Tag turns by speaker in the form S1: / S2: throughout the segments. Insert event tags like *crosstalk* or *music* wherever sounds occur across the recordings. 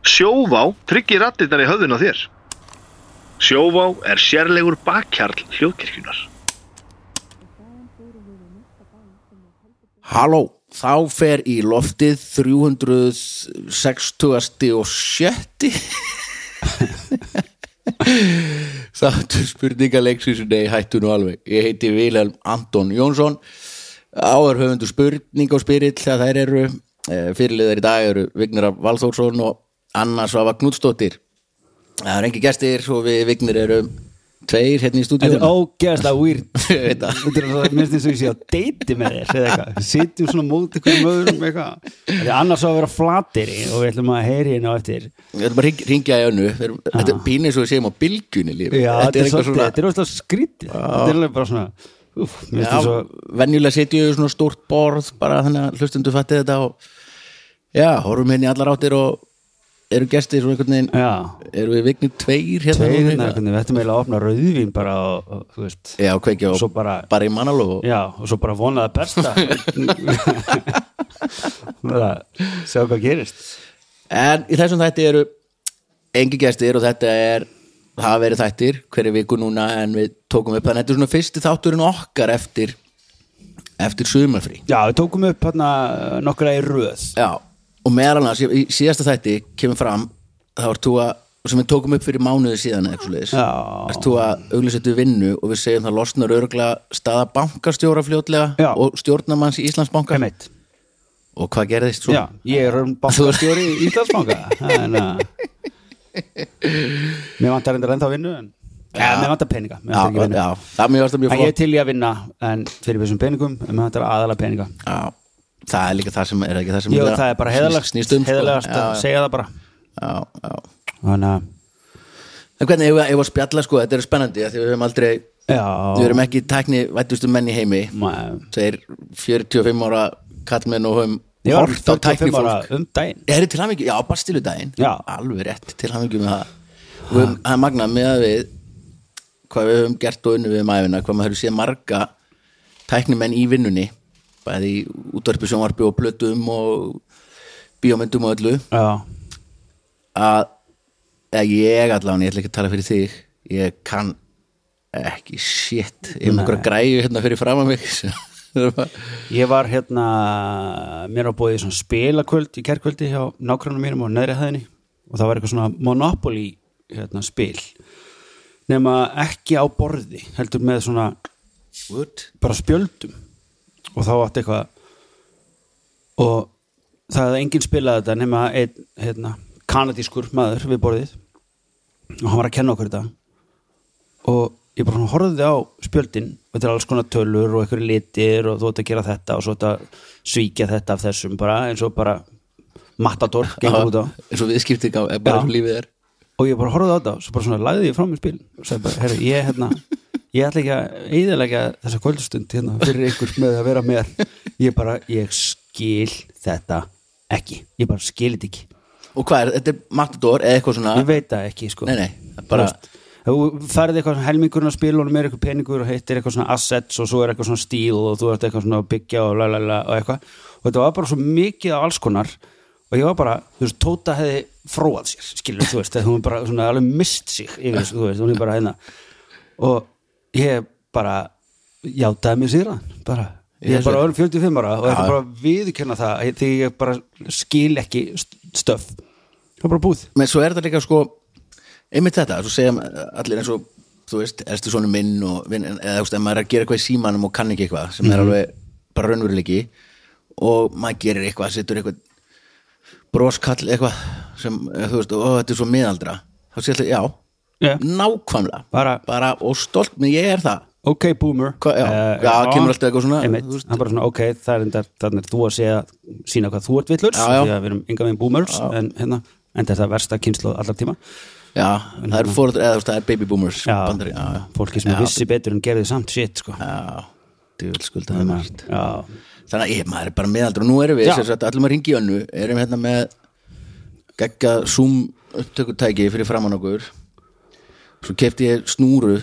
S1: Sjóvá tryggir rattirnar í höfðun á þér. Sjóvá er sérlegur bakkjarl hljóðkirkjunar.
S2: Halló, þá fer í loftið 360 og sjötti Þáttur spurningaleiksvísunni hættu nú alveg Ég heiti Vilhelm Anton Jónsson Áður höfundu spurning og spyrill þegar þær eru Eh, Fyrirliðar í dag eru Vignir af Valþórsson og Anna Svava Knútsdóttir Það eru engi gestir og við Vignir erum tveir hérna
S3: Þetta
S2: í
S3: er
S2: stúdíu
S3: ógeðslega
S2: *laughs*
S3: weird
S2: veit
S3: Þetta
S2: það.
S3: er svo- Mér finnst eins og ég sé á deiti með þér eða eitthvað, Við sitjum svona móti hverjum öðrum eitthvað Þetta er annars á að vera flatir og við ætlum að heyri hérna á eftir
S2: Við ætlum að hring- ringja í önnu Við erum- Þetta er pínu eins og við séum á bylgjunni lífi
S3: Ah. Já, þetta er
S2: eitthvað
S3: svolítið, þetta er ógeðslega skrítið Þetta er alveg bara svona Úf, mér finnst
S2: Já,
S3: þetta svo
S2: venjulega setjum við svona stórt borð bara þannig að hlustundu fatti þetta og já, horfum hérna í allar áttir og eru gestir og einhvern veginn
S3: Já,
S2: eru við vignir tveir hérna
S3: tveir
S2: núna?
S3: hérna hvernig Við ættum eiginlega að opna rauðvín bara og, og, þú veist,
S2: Já, kveikja
S3: Svo
S2: og bara,
S3: bara-
S2: í mannalóg og
S3: Já, og svo bara vona það
S2: *laughs*
S3: besta Bara Sjá hvað gerist
S2: En í þessum þætti eru engi gestir og þetta er það hafa verið þættir hverju viku núna en við tókum upp þannig að þetta er svona fyrsti þátturinn okkar eftir eftir sumarfrí
S3: Já, við tókum upp hérna nokkra í röð
S2: Já, og meðal annars í í síðasta þætti kemur fram þá ert þú að, sem við tókum upp fyrir mánuði síðan eða eitthvað leðis,
S3: Já.
S2: ert þú að auglýsettu vinnu og við segjum það losnar örgulega staða bankastjóra fljótlega
S3: Já.
S2: og stjórnamanns í Íslandsbanka
S3: Einmitt.
S2: og hvað gerðist svo?
S3: Já, ég er bankastjóri í Íslandsbanka en, uh, Mér vantar endur ennþá vinnu en, ja, Mér vantar peninga mér
S2: já,
S3: vantar ekki vinnu.
S2: já, það mér varst það mjög
S3: En ég er
S2: flott
S3: til í að vinna en fyrir þessum peningum en mér vantar aðalega peninga
S2: já, það er líka það sem er það ekki það sem
S3: Jó,
S2: þetta
S3: það er bara
S2: snýst-
S3: heðalagst
S2: snýst um, sko?
S3: heðalagast að
S2: já,
S3: segja það bara
S2: já, já.
S3: Þannig að
S2: En hvernig eigum við að- eigum við að spjalla sko, þetta er spennandi af því við höfum aldrei, við
S3: Já,
S2: erum ekki tækni vættustu menn í heimi
S3: maður-
S2: þeir 45 ára kallmenn og höfum
S3: ég var
S2: hort á
S3: 45 ára
S2: tæknifólk
S3: um daginn
S2: er þið til hamingju, já bara stilu daginn
S3: Já.
S2: alveg rétt til hamingju með það og við höfum- það er magnað með að við hvað við höfum gert og unnu við um æfina hvað maður hefur séð marga tæknimenn í vinnunni bæði í útvarpi, sjónvarpi og blötum og bíómyndum og öllu
S3: Já,
S2: að eða ég allan, ég ætla ekki að tala fyrir þig ég kann ekki shit, ég er með einhverja græju hérna fyrir fram að mig *laughs* sem-
S3: Ég var hérna mér á bóðið svona spilakvöld í kerkvöldi hjá nákvæmna mínum og neðri hæðinni og það var eitthvað svona Monopoly hérna, spil nema ekki á borði heldur með svona
S2: What?
S3: bara spjöldum og þá átti eitthvað og það hefði enginn spilað þetta nema einn hérna, kanadískur maður við borðið og hann var að kenna okkur þetta og ég bara svona horfði á spjöldin og þetta er alls konar tölur og einhverju litir og þú ætti að gera þetta og svo ætti að svíkja þetta af þessum bara eins og bara matador gengur út á
S2: eins og viðskipti gá- er
S3: Já.
S2: bara eins og lífið er
S3: og ég bara horfði á þetta og svo bara svona lagði ég frá mér spil og sagði bara, herru, ég hérna ég ætla ekki að eyðilega þessa kvöldstund hérna fyrir ykkur með að vera með ég bara, ég skil þetta ekki, ég bara skil þetta ekki
S2: og hvað er, þetta er matador eða eitthvað svona
S3: ég veit það ekki, sko
S2: Nei, nei, það er
S3: þú
S2: bara-
S3: veist, þú ferði eitthvað svona helmingurinn á spilunum er eitthvað peningur og heitir eitthvað svona assets og svo er eitthvað svona stíl og þú ert eitthvað svona að byggja og lalala og eitthvað og þetta var bara svo mikið af alls konar og ég var bara, þú veist, Tóta hefði fróað sér, skilur, þú veist, þegar hún bara svona alveg mist sig yfir þessu, þú veist, hún er bara hérna og ég bara játaði mér síðan, bara ég er bara orðinn 45 ára og þetta er bara viðkjöna það að- því ég bara skil ekki stöf, það er bara búið
S2: menn svo er þetta líka sko einmitt þetta, svo segja allir eins og þú veist, erstu svona minn og vin, eða þú veist, ef maður er að gera eitthvað í símanum og kann ekki eitthvað sem
S3: Mhm.
S2: er alveg bara raunveruleiki og maður gerir eitthvað, setur eitthvað broskall eitthvað sem, eh, þú veist, ó, þetta er svo miðaldra þá sé alltaf, já,
S3: yeah.
S2: nákvæmlega
S3: Bara-
S2: og stolt, menn ég er það
S3: ok boomer Eh,
S2: Hva- já, já, kemur alltaf eitthvað svona,
S3: einmitt,
S2: þú veist.
S3: hann bara svona ok, það er endar, þannig er þú að segja sína hvað þú ert villurs,
S2: Já, já.
S3: því að við erum enga veginn boomers, en hérna en þetta er versta kynslu allar tíma
S2: já, það er fóreldur, eða þú veist, það er baby boomers
S3: Mhm. já,
S2: bandari, já, já,
S3: fólki sem
S2: Já,
S3: vissi betur en gerði samt shit sko.
S2: já, djúvel skulda það margt
S3: já,
S2: þannig að ég, maður er bara meðaldur og nú erum við,
S3: Já.
S2: sem sagt, allir maður ringi í önnu erum hérna með gegga Zoom upptökutæki fyrir framann okkur svo kefti ég snúru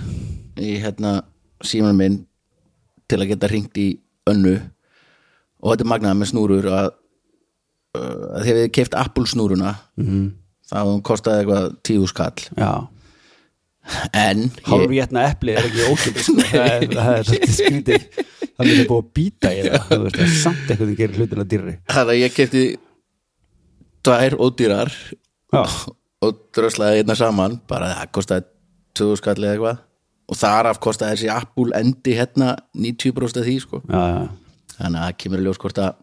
S2: í hérna síman minn til að geta ringt í önnu og þetta er magnað með snúrur að, uh, að þegar við keft Apple snúruna það hún kostaði eitthvað tíu skall
S3: já
S2: en
S3: hálfur
S2: ég,
S3: getna eplið er ekki ókjöld
S2: *laughs*
S3: sko. það er- það er svolítið skrítið það er búið að býta í
S2: *laughs*
S3: það þú veist, það er samt eitthvað sem gerir hlutina dýrri
S2: þannig að ég kefti tvær ódýrar
S3: já,
S2: og dröslaði hérna saman bara það kostaði tíu skall eða eitthvað og þar af kostaði þessi Apple endi hérna 90% af því sko
S3: já, já,
S2: þannig að það kemur í ljós hvort að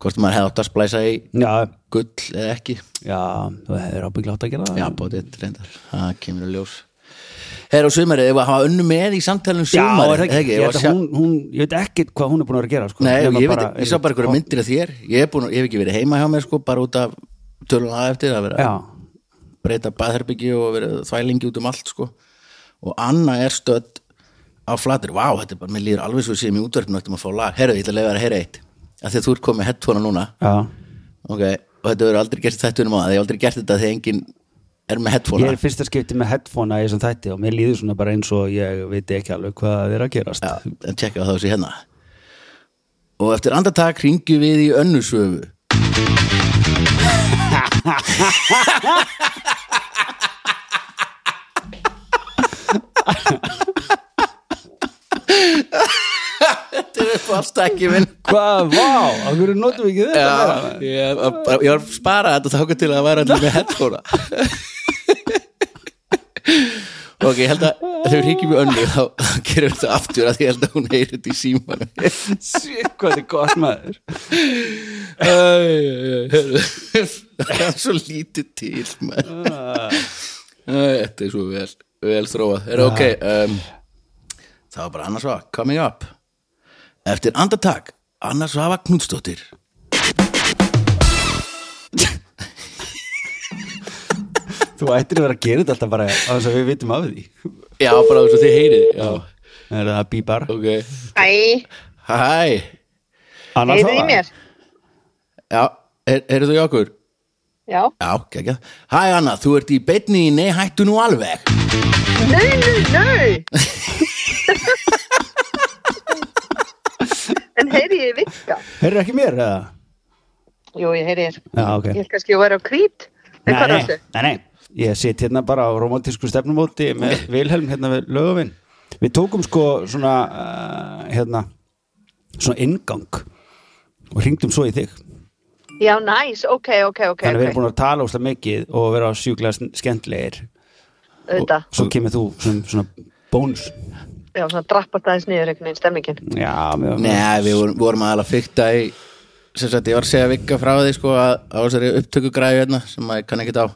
S2: hvort maður hefði átt að splæsa í
S3: já,
S2: gull eða ekki
S3: já það hefur ábygglega átt að gera það
S2: já, bótið reyndar, það kemur í ljós Herra og sumarið, ef að hafa önnu með í samtælum
S3: Já,
S2: sumarið,
S3: er það ekki, ég,
S2: Ég var
S3: held
S2: sjá-
S3: að hún, hún, ég veit ekkert hvað hún er búin að vera að gera sko.
S2: Nei, ég,
S3: Nema
S2: veit, ég sá bara einhverja myndir af þér ég hef, búin, ég hef ekki verið heima hjá mér sko bara út af tölum að eftir að vera
S3: Já,
S2: að breyta baðherbyggi og vera þvælingi út um allt sko og Anna er stödd á flatur, vá, þetta er bara, mér líður alveg svo sem í útverfinu ættum að fá lag, herra, ég ætla að leiða að heyra eitt af því að þú ert komið headphonea núna
S3: já,
S2: ok, og þetta verður aldrei gert þetta um aða, ég hef aldrei gert þetta þegar enginn er með
S3: ég
S2: headphonea
S3: er í fyrsta skipti með headphone að ég sem þætti og mér líður svona bara eins og ég veit ekki alveg hvað er að gerast
S2: Já, en tjekka þá þessi hérna og eftir andartak ringjum við í önnusöfu Þetta er upp allstakki minn
S3: Hvað, vá, af hverju notum við ekki þetta *laughs*
S2: Já, ég, ég var að spara þetta þáka til að það væri allir með headphone Ok, ég held að þegar hringjum við önnu þá þá gerum við þetta aftur að ég held að hún heyri þetta í símanum
S3: Sýtt hvað þetta er gott maður
S2: Það er svo lítið til maður. Æ, Þetta er svo vel, vel þróað er, ok, um, Það var bara Anna Svafa Coming up Eftir andartak Anna Svafa Knútsdóttir
S3: Þú ættir að vera að gera þetta alltaf bara á þess að við vitum af því
S2: Já, bara þess að þið heyrið Já,
S3: Það er það bíbar
S2: ok
S4: Æ,
S2: Hæ,
S3: Annars
S4: heyrðu í
S3: það.
S4: mér?
S2: já, er, heyrðu þú í okkur?
S4: Já.
S2: Já, gekkja Hæ Anna, þú ert í beinni í Nei hættu nú alveg
S4: Nei, nei,
S3: *laughs*
S4: nei. en heyri ég virka?
S3: Heyrðu ekki mér eða?
S4: Jú, ég heyri þér.
S3: Já, ok
S4: Ég held kannski að vera á hvít. En hvað
S3: nei,
S4: er það?
S3: nei, nei, ég sitt hérna bara á romantísku stefnumóti
S4: *laughs*
S3: með Vilhelm hérna við löguminn við tókum sko svona uh, hérna svona inngang og hringdum svo í þig
S4: Já, næs, nice. ok, ok, ok.
S3: þannig að við erum
S4: ok.
S3: búin að tala óslega mikið og vera sjúklega sn- skemmtlegir
S4: Auðvitað.
S3: svo kemur þú sem svona bónus
S4: Já, svona drappast aðeins niður einhvern veginn stemmingin.
S3: já, mjög
S2: Nei, við vorum, vorum aðalega fyrta í sem sagt, ég var að segja vikka frá því sko, að á þessari upptökugræðu hérna sem maður kann ekkert á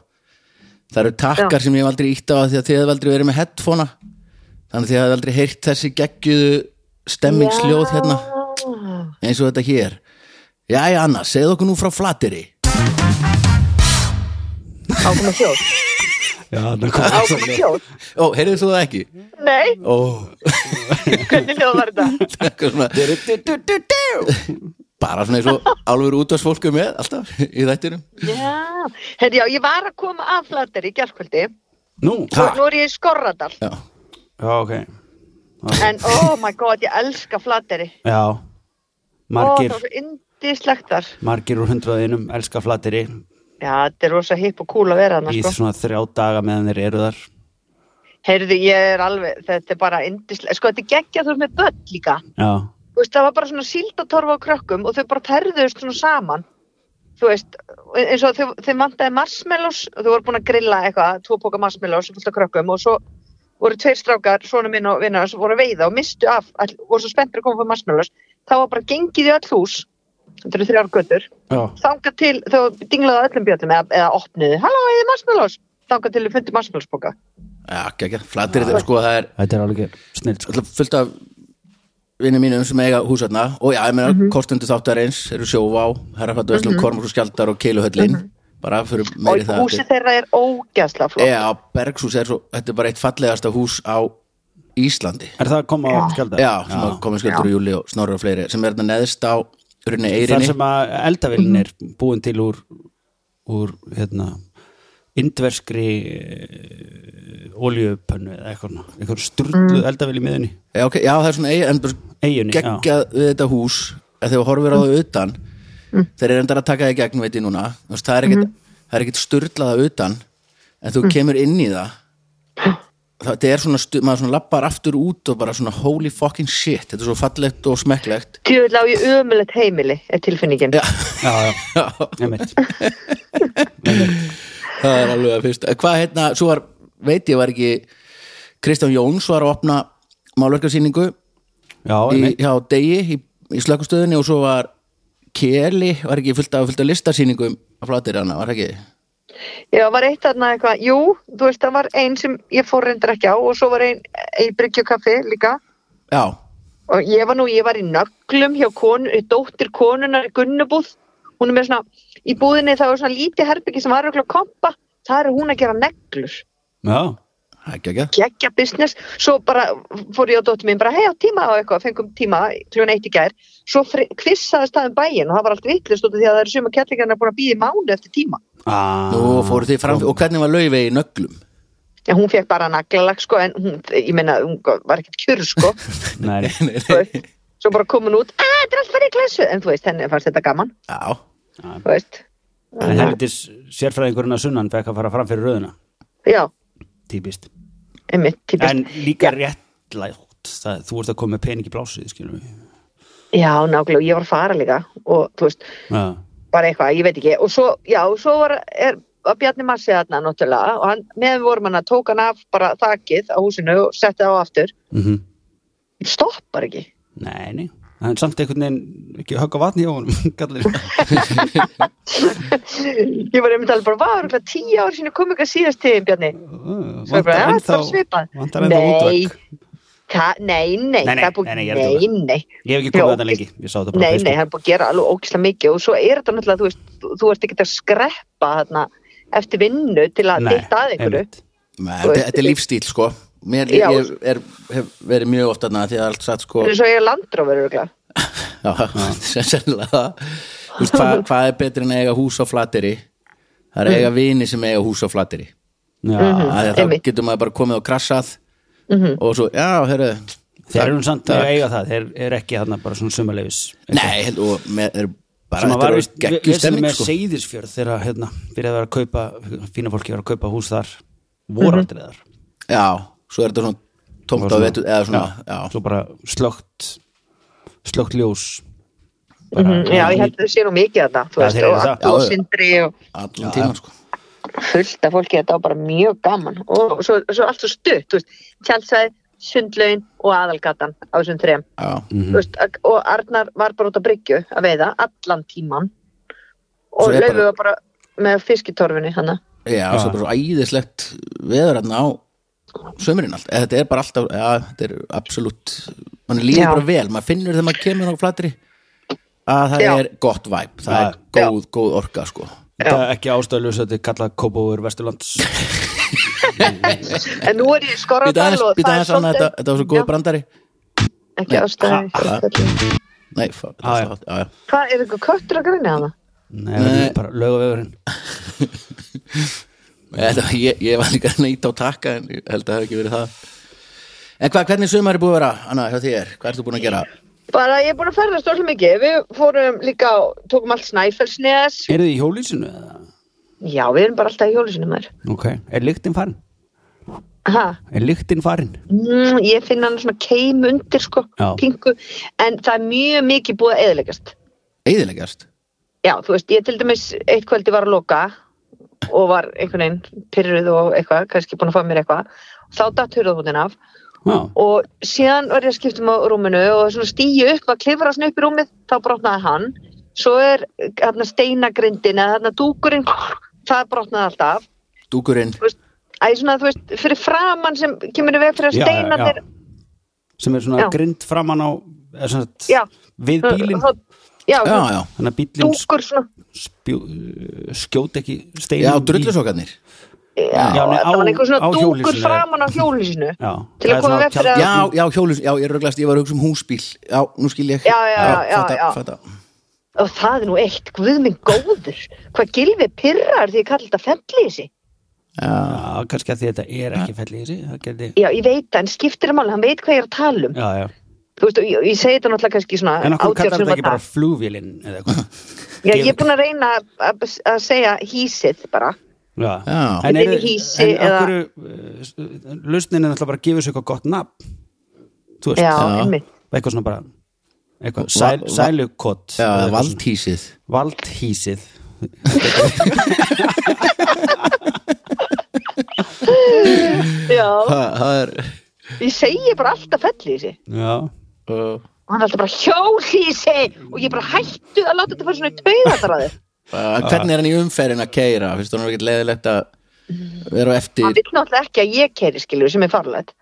S2: það eru takkar sem ég hef aldrei ítt á af því að þið hef aldrei verið með headphonea þannig að þið hef aldrei heyrt þessi geggjuðu stemmingsljóð hérna eins og þetta hér Jæja Anna, segðu okkur nú frá flateri
S4: Ákoma hljóð.
S3: já, það kom
S4: Ákoma hljóð.
S2: Ó, heyrðu þú það ekki?
S4: Nei,
S2: Ó, *laughs*
S4: hvernig hljóð var þetta?
S2: eitthvað svona bara svona eins og alveg út af svolku með alltaf í þættinum
S4: Já. Herri, já, ég var að koma að flatir í gærkvöldi
S3: nú,
S4: og nú er ég í Skorradal.
S2: Já,
S3: já, ok
S4: En, oh my god, ég elska flateri.
S3: já,
S4: Ó,
S3: margir
S4: það var svo indislegt þar.
S3: margir úr hundraðinum, elska flateri
S4: Já, þetta er rosa hipp og cool að vera hann,
S3: í
S4: sko.
S3: svona þrjá daga meðan þeir eru þar
S4: Heyrðu, ég er alveg, þetta er bara indislegt. Sko, þetta er geggjað þú ert með börn líka.
S3: já,
S4: Þú veist, það var bara svona síldatorfa á krökkum og þau bara ferðuðust svona saman. Þú veist, eins og þau, þau vantaði marshmallows og þau voru búin að grilla eitthvað, tvo póka marshmallows fullt af krökkum og svo voru tveir strákar, svona minn og vinnar, sem voru að veiða og mistu af, all, voru svo spenntur að koma fyrir marshmallows. Þá var bara gengið í öll hús, þetta eru þrjár göttur,
S3: já,
S4: þanga til, þau dinglaði á öllum bjöllum eða, eða opniði, halló, eða marshmallows þanga til við fundum marshmallowsboka
S2: já, ekki, flateri þetta, sko það er
S3: þetta er alveg snill sko.
S2: alltaf fullt af vinnum mínum sem eiga húsarna og já, ég meina, mm
S4: Mhm.
S2: -hmm. kostendur þáttarins eru sjóvá, herrafættuverslum, mm -hmm. kormur og skjaldar og keiluhöllin, bara fyrir meiri
S4: Mhm. og
S2: það
S4: húsið þeirra er ógæsla flott
S2: Já, Bergshús er svo, þetta er bara eitt fallegasta hús á Íslandi
S3: er það að koma á skjaldar?
S2: Já, sem að komið skjöldur í júli og snorri og fleiri sem er þarna neðst á runni
S3: þar
S2: eirinni
S3: sem að eldavillin er búin til úr úr hérna indverskri oljupönnu eða eitthvað svona. eitthvað sturlu mm. eldavill í miðunni
S2: já, okay, Eh, já, það er svona eigin, en bara
S3: eiginni, já,
S2: geggjað við þetta Mm. hús að þegar þú horfir á þau utan þeir eru endar að taka þig í gegn veit ég núna þú veist, það er ekkit það er ekkert sturlaða utan en þú kemur inn í það það er svona, stu, maður svona lappar aftur út og bara svona holy fucking shit þetta er svo fallegt og smekklegt
S4: Tjóðlega á ég ömulegt heimili er tilfinningin.
S2: Já.
S3: já, já, einmitt
S2: það er alveg að fyrst hvað hérna, svo var, veit ég var ekki Kristján Jóns var að opna málverkarsýningu
S3: já,
S2: í,
S3: einmitt,
S2: hjá Degi í, í slökkustöðinni og svo var Keli, var ekki fullt af, fullt af listasýningum að flatir hana, var ekki
S4: Já, var eitt aðna eitthvað, jú, þú veist, það var einn sem ég fór reyndar ekki á og svo var einn í Bryggjukaffi líka
S2: já,
S4: og ég var nú, ég var í nöglum hjá konu, dóttir konunar í Gunnubúð, hún er með svona, í búðinni það var svona lítið herbyggi sem var örugglega að kompa, það er hún að gera neglur,
S3: já,
S2: það er ekki ekki
S4: geggja business, svo bara fór ég á dóttir mín bara, hei á tíma og eitthvað, fengum tíma, kljóðan eitt í gær, svo fri- kvissaði staðum bæin og það var allt vitlust út af því að það eru suma kettlingarna búin að býða í mánu eftir tíma.
S3: ah,
S2: Nú fóru þið fram, og hvernig var laufið í nöglum?
S4: Já, hún fekk bara naglalag sko en hún, ég meina, hún var ekkert kjur sko
S3: nei, nei.
S4: Þú veist, svo bara komin út, að þetta er allt fyrir glesu en þú veist, henni fannst þetta gaman
S2: *laughs* Já,
S4: þú veist,
S3: en helvitis sérfræðingurinn að sunnan fekk að fara fram fyrir röðuna
S4: já,
S3: típist,
S4: einmitt, típist
S3: en líka réttlægt það, þú ert að koma með pening í blásið skilum við
S4: já, nákvæmlega, og ég var að fara líka og þú veist,
S3: já,
S4: bara eitthvað, ég veit ekki og svo, já, og svo var, er að Bjarni Massi þarna náttúrulega og hann, meðan við vorum hann að tók hann af bara þakið á húsinu og setti það á aftur
S3: mhm
S4: stoppar ekki, *laughs*
S3: Nei, nei, það er samt einhvern veginn ekki högg á vatni hjá honum *laughs*
S4: *laughs*
S3: gallir.
S4: ég var einmitt alveg bara, var örugglega tíu ár sinni kom ekki að síðast til þín, Bjarni Svo er bara,
S3: Vantar
S4: já, þetta
S3: ennþá
S4: er bara svipað.
S3: Vantar ennþá
S4: Nei.
S3: útvögg
S4: Þa, nei, nei,
S3: Nei, nei,
S4: það er búið,
S3: nei, nei,
S4: nei,
S3: ég er að
S4: nei,
S3: djóka. Ég hef ekki komið
S4: Já,
S3: þetta
S4: ógeð-
S3: lengi Ég sá þetta bara á
S4: Nei, nei,
S3: Facebook.
S4: hann er búið að gera alveg ógislega mikið og svo er þetta náttúrulega, þú veist, þú- þú ert ekki að skreppa þarna eftir vinnu til að
S3: Nei,
S4: ditta að einhverju.
S3: einmitt.
S2: Men,
S4: Þú
S2: þetta,
S4: veist,
S2: þetta er lífstíl sko Mér,
S4: Já.
S2: ég er, hef verið mjög oft þarna því að allt satt sko
S4: Það er svo ég er landrófur öruglega.
S2: Já, *laughs* sennilega það. Þú veist, hvað, hvað er betur en að eiga hús á flateri? Það er að eiga vini sem eiga hús á flateri
S3: Já,
S4: Mm.
S2: Það er þá
S4: Mhm. einmitt. Mhm.
S2: getur maður bara komið og krassað og svo, já, herru
S3: Þeir eru nú samt að
S2: Takk.
S3: eiga það Þeir eru ekki þarna bara svona sumarleifis
S2: Nei, held, og með, er bara
S3: Sem að
S2: þetta
S3: var
S2: er
S3: vist
S2: geggjum stemming
S3: með
S2: sko
S3: Seyðisfjörð þegar hérna byrjaði að vera að kaupa fína fólki var að kaupa hús þar voru aldrei þar
S2: Já, svo er þetta svona tómt á vetu eða svona, Mhm. já,
S3: Svo bara slögt slögt ljós
S4: Mm Já, ég held að þau sé nú mikið þarna, þú
S3: Já,
S4: veist,
S3: þeir eru
S4: og
S3: það.
S4: Addi
S2: Já,
S4: og
S2: já.
S4: Sindri og
S2: allan tíman sko
S4: fullt af fólki, þetta var bara mjög gaman og svo, svo allt svo stutt, þú veist, tjálsæði, sundlaun og aðalgatan á þessum þrem.
S2: Já,
S4: Mm veist, að- og Arnar var bara út á bryggju að veiða allan tíman og
S2: Svo er
S4: Laufi
S2: bara-
S4: var bara með hérna. fiskitorfinni hana.
S2: já, svo bara svo æðislegt veður hérna á sömurinn allt, eða þetta er bara alltaf já, þetta er absolutt, mann líður
S4: Já.
S2: bara vel maður finnur þegar maður kemur á flatri að það
S4: Já.
S2: er gott væp það
S3: Já.
S2: er góð, góð orka sko
S3: Þetta er ekki ástæðljus að þetta er kallað Kópóður Vesturlands
S4: En nú er ég skorað
S2: býta aðeins, býta aðeins annað, þetta, þetta var svo góð brandari
S4: ekki ástæði
S2: Ha-
S4: fyrir
S2: nei, fa-
S3: Já, já.
S2: já, já.
S4: hvað er eitthvað köttur að grunni hana?
S3: Nei, það er bara lögavegurinn
S2: Þetta, ég, ég var líka að neyta á takka en ég held að það hef ekki verið það en hvað, hvernig sömur er búið að vera, Anna, hjá þér hvað ert þú búin að gera?
S4: bara ég er búin að ferðast allir mikið við fórum líka á, tókum allt snæfellsnes
S3: Er þið í hjólísinu eða?
S4: já við erum bara alltaf í hjólusinu maður
S3: Ok, er lyktin farin?
S4: ha,
S3: Er lyktin farin?
S4: mm, ég finn hann svona keim undir sko
S3: Já.
S4: pingu, en það er mjög mikið búið að eðilegast
S2: Eðileggjast?
S4: já, þú veist, ég til dæmis eitt kvöldi var að loka og var einhvern veginn pyrruð og eitthvað, kannski búin að fá mér eitthvað þá datt hurðahútin af
S3: Já,
S4: og síðan var ég að skipta um á rúminu og svona stíu upp, var klifrast upp í rúmið þá brotnaði hann svo er eh, þarna steinagrindin eða þarna dúkurinn, *laughs* það brotnaði alltaf
S2: Dúkurinn?
S4: þú veist, æ, svona, þú veist, fyrir framann sem kemur í veg fyrir að
S3: já,
S4: steina
S3: já, já. Sem er svona
S4: Já.
S3: grind framan á eða svona t-
S4: Já.
S3: Við bílinn
S4: uh,
S2: Já,
S4: já, já,
S2: já,
S3: Þannig að bílinn
S4: dúkur svona
S3: spjó- skjóti ekki steinu
S2: já, drullusokarnir
S4: já,
S3: Já, nei,
S4: það
S3: á-
S4: var
S3: á
S4: einhver svona dúkur
S3: hjólhýsinu.
S4: framann á hjólusinu
S3: Já,
S4: til
S3: það er
S4: að koma
S3: svona
S4: í veg fyrir
S3: tjald-
S4: að
S2: Já, já, hjólus, já, ég röglast, ég var að hugsa um húsbíl Já, nú skil ég
S4: Já, já, já, já,
S2: fatta,
S4: já.
S2: Fatta.
S4: og það er nú eitt, guð minn góður hvað gilfi pyrrar því ég kalli þetta fendlýsi
S2: já.
S3: Já, kannski að því þetta er ekki fell í þessi Það gerði
S4: já, ég veit það, en skiptir það máli, hann veit hvað ég er að tala um
S3: Já, já
S4: þú veist, og ég, og ég segi þetta náttúrulega kannski svona
S3: En okkur
S4: átján
S3: kallar þetta
S4: sem var
S3: ekki bara
S4: það
S3: flugvélinn eða eitthvað
S4: Já, ég er búin að reyna að að segja hísið bara.
S3: Já.
S2: Já.
S3: En
S4: Þetta er
S3: eru,
S4: í hýsi
S3: en
S4: eða-
S3: okkur, uh, lausnin er náttúrulega bara að gefa sér eitthvað gott nafn. Þú veist,
S4: Já,
S2: Já.
S4: einmitt.
S3: eitthvað svona bara, eitthvað,
S2: Va-
S3: sæl,
S2: va-
S3: sælukott.
S2: Já,
S3: eða eitthvað svona.
S2: valdhísið
S3: Valdhýsið.
S4: Já,
S2: Það það er
S4: ég segi bara alltaf fellísi.
S3: Já.
S2: uh,
S4: Og hann er alltaf bara hjólísi og ég bara hættu að láta þetta fara svona í taugatar að þér.
S2: uh, Hvernig er hann í umferðin að keira? Finnst hann ekkert leiðilegt að vera á
S4: Hann
S2: eftir
S4: vil náttúrulega ekki að ég keri skilur sem er farlegt.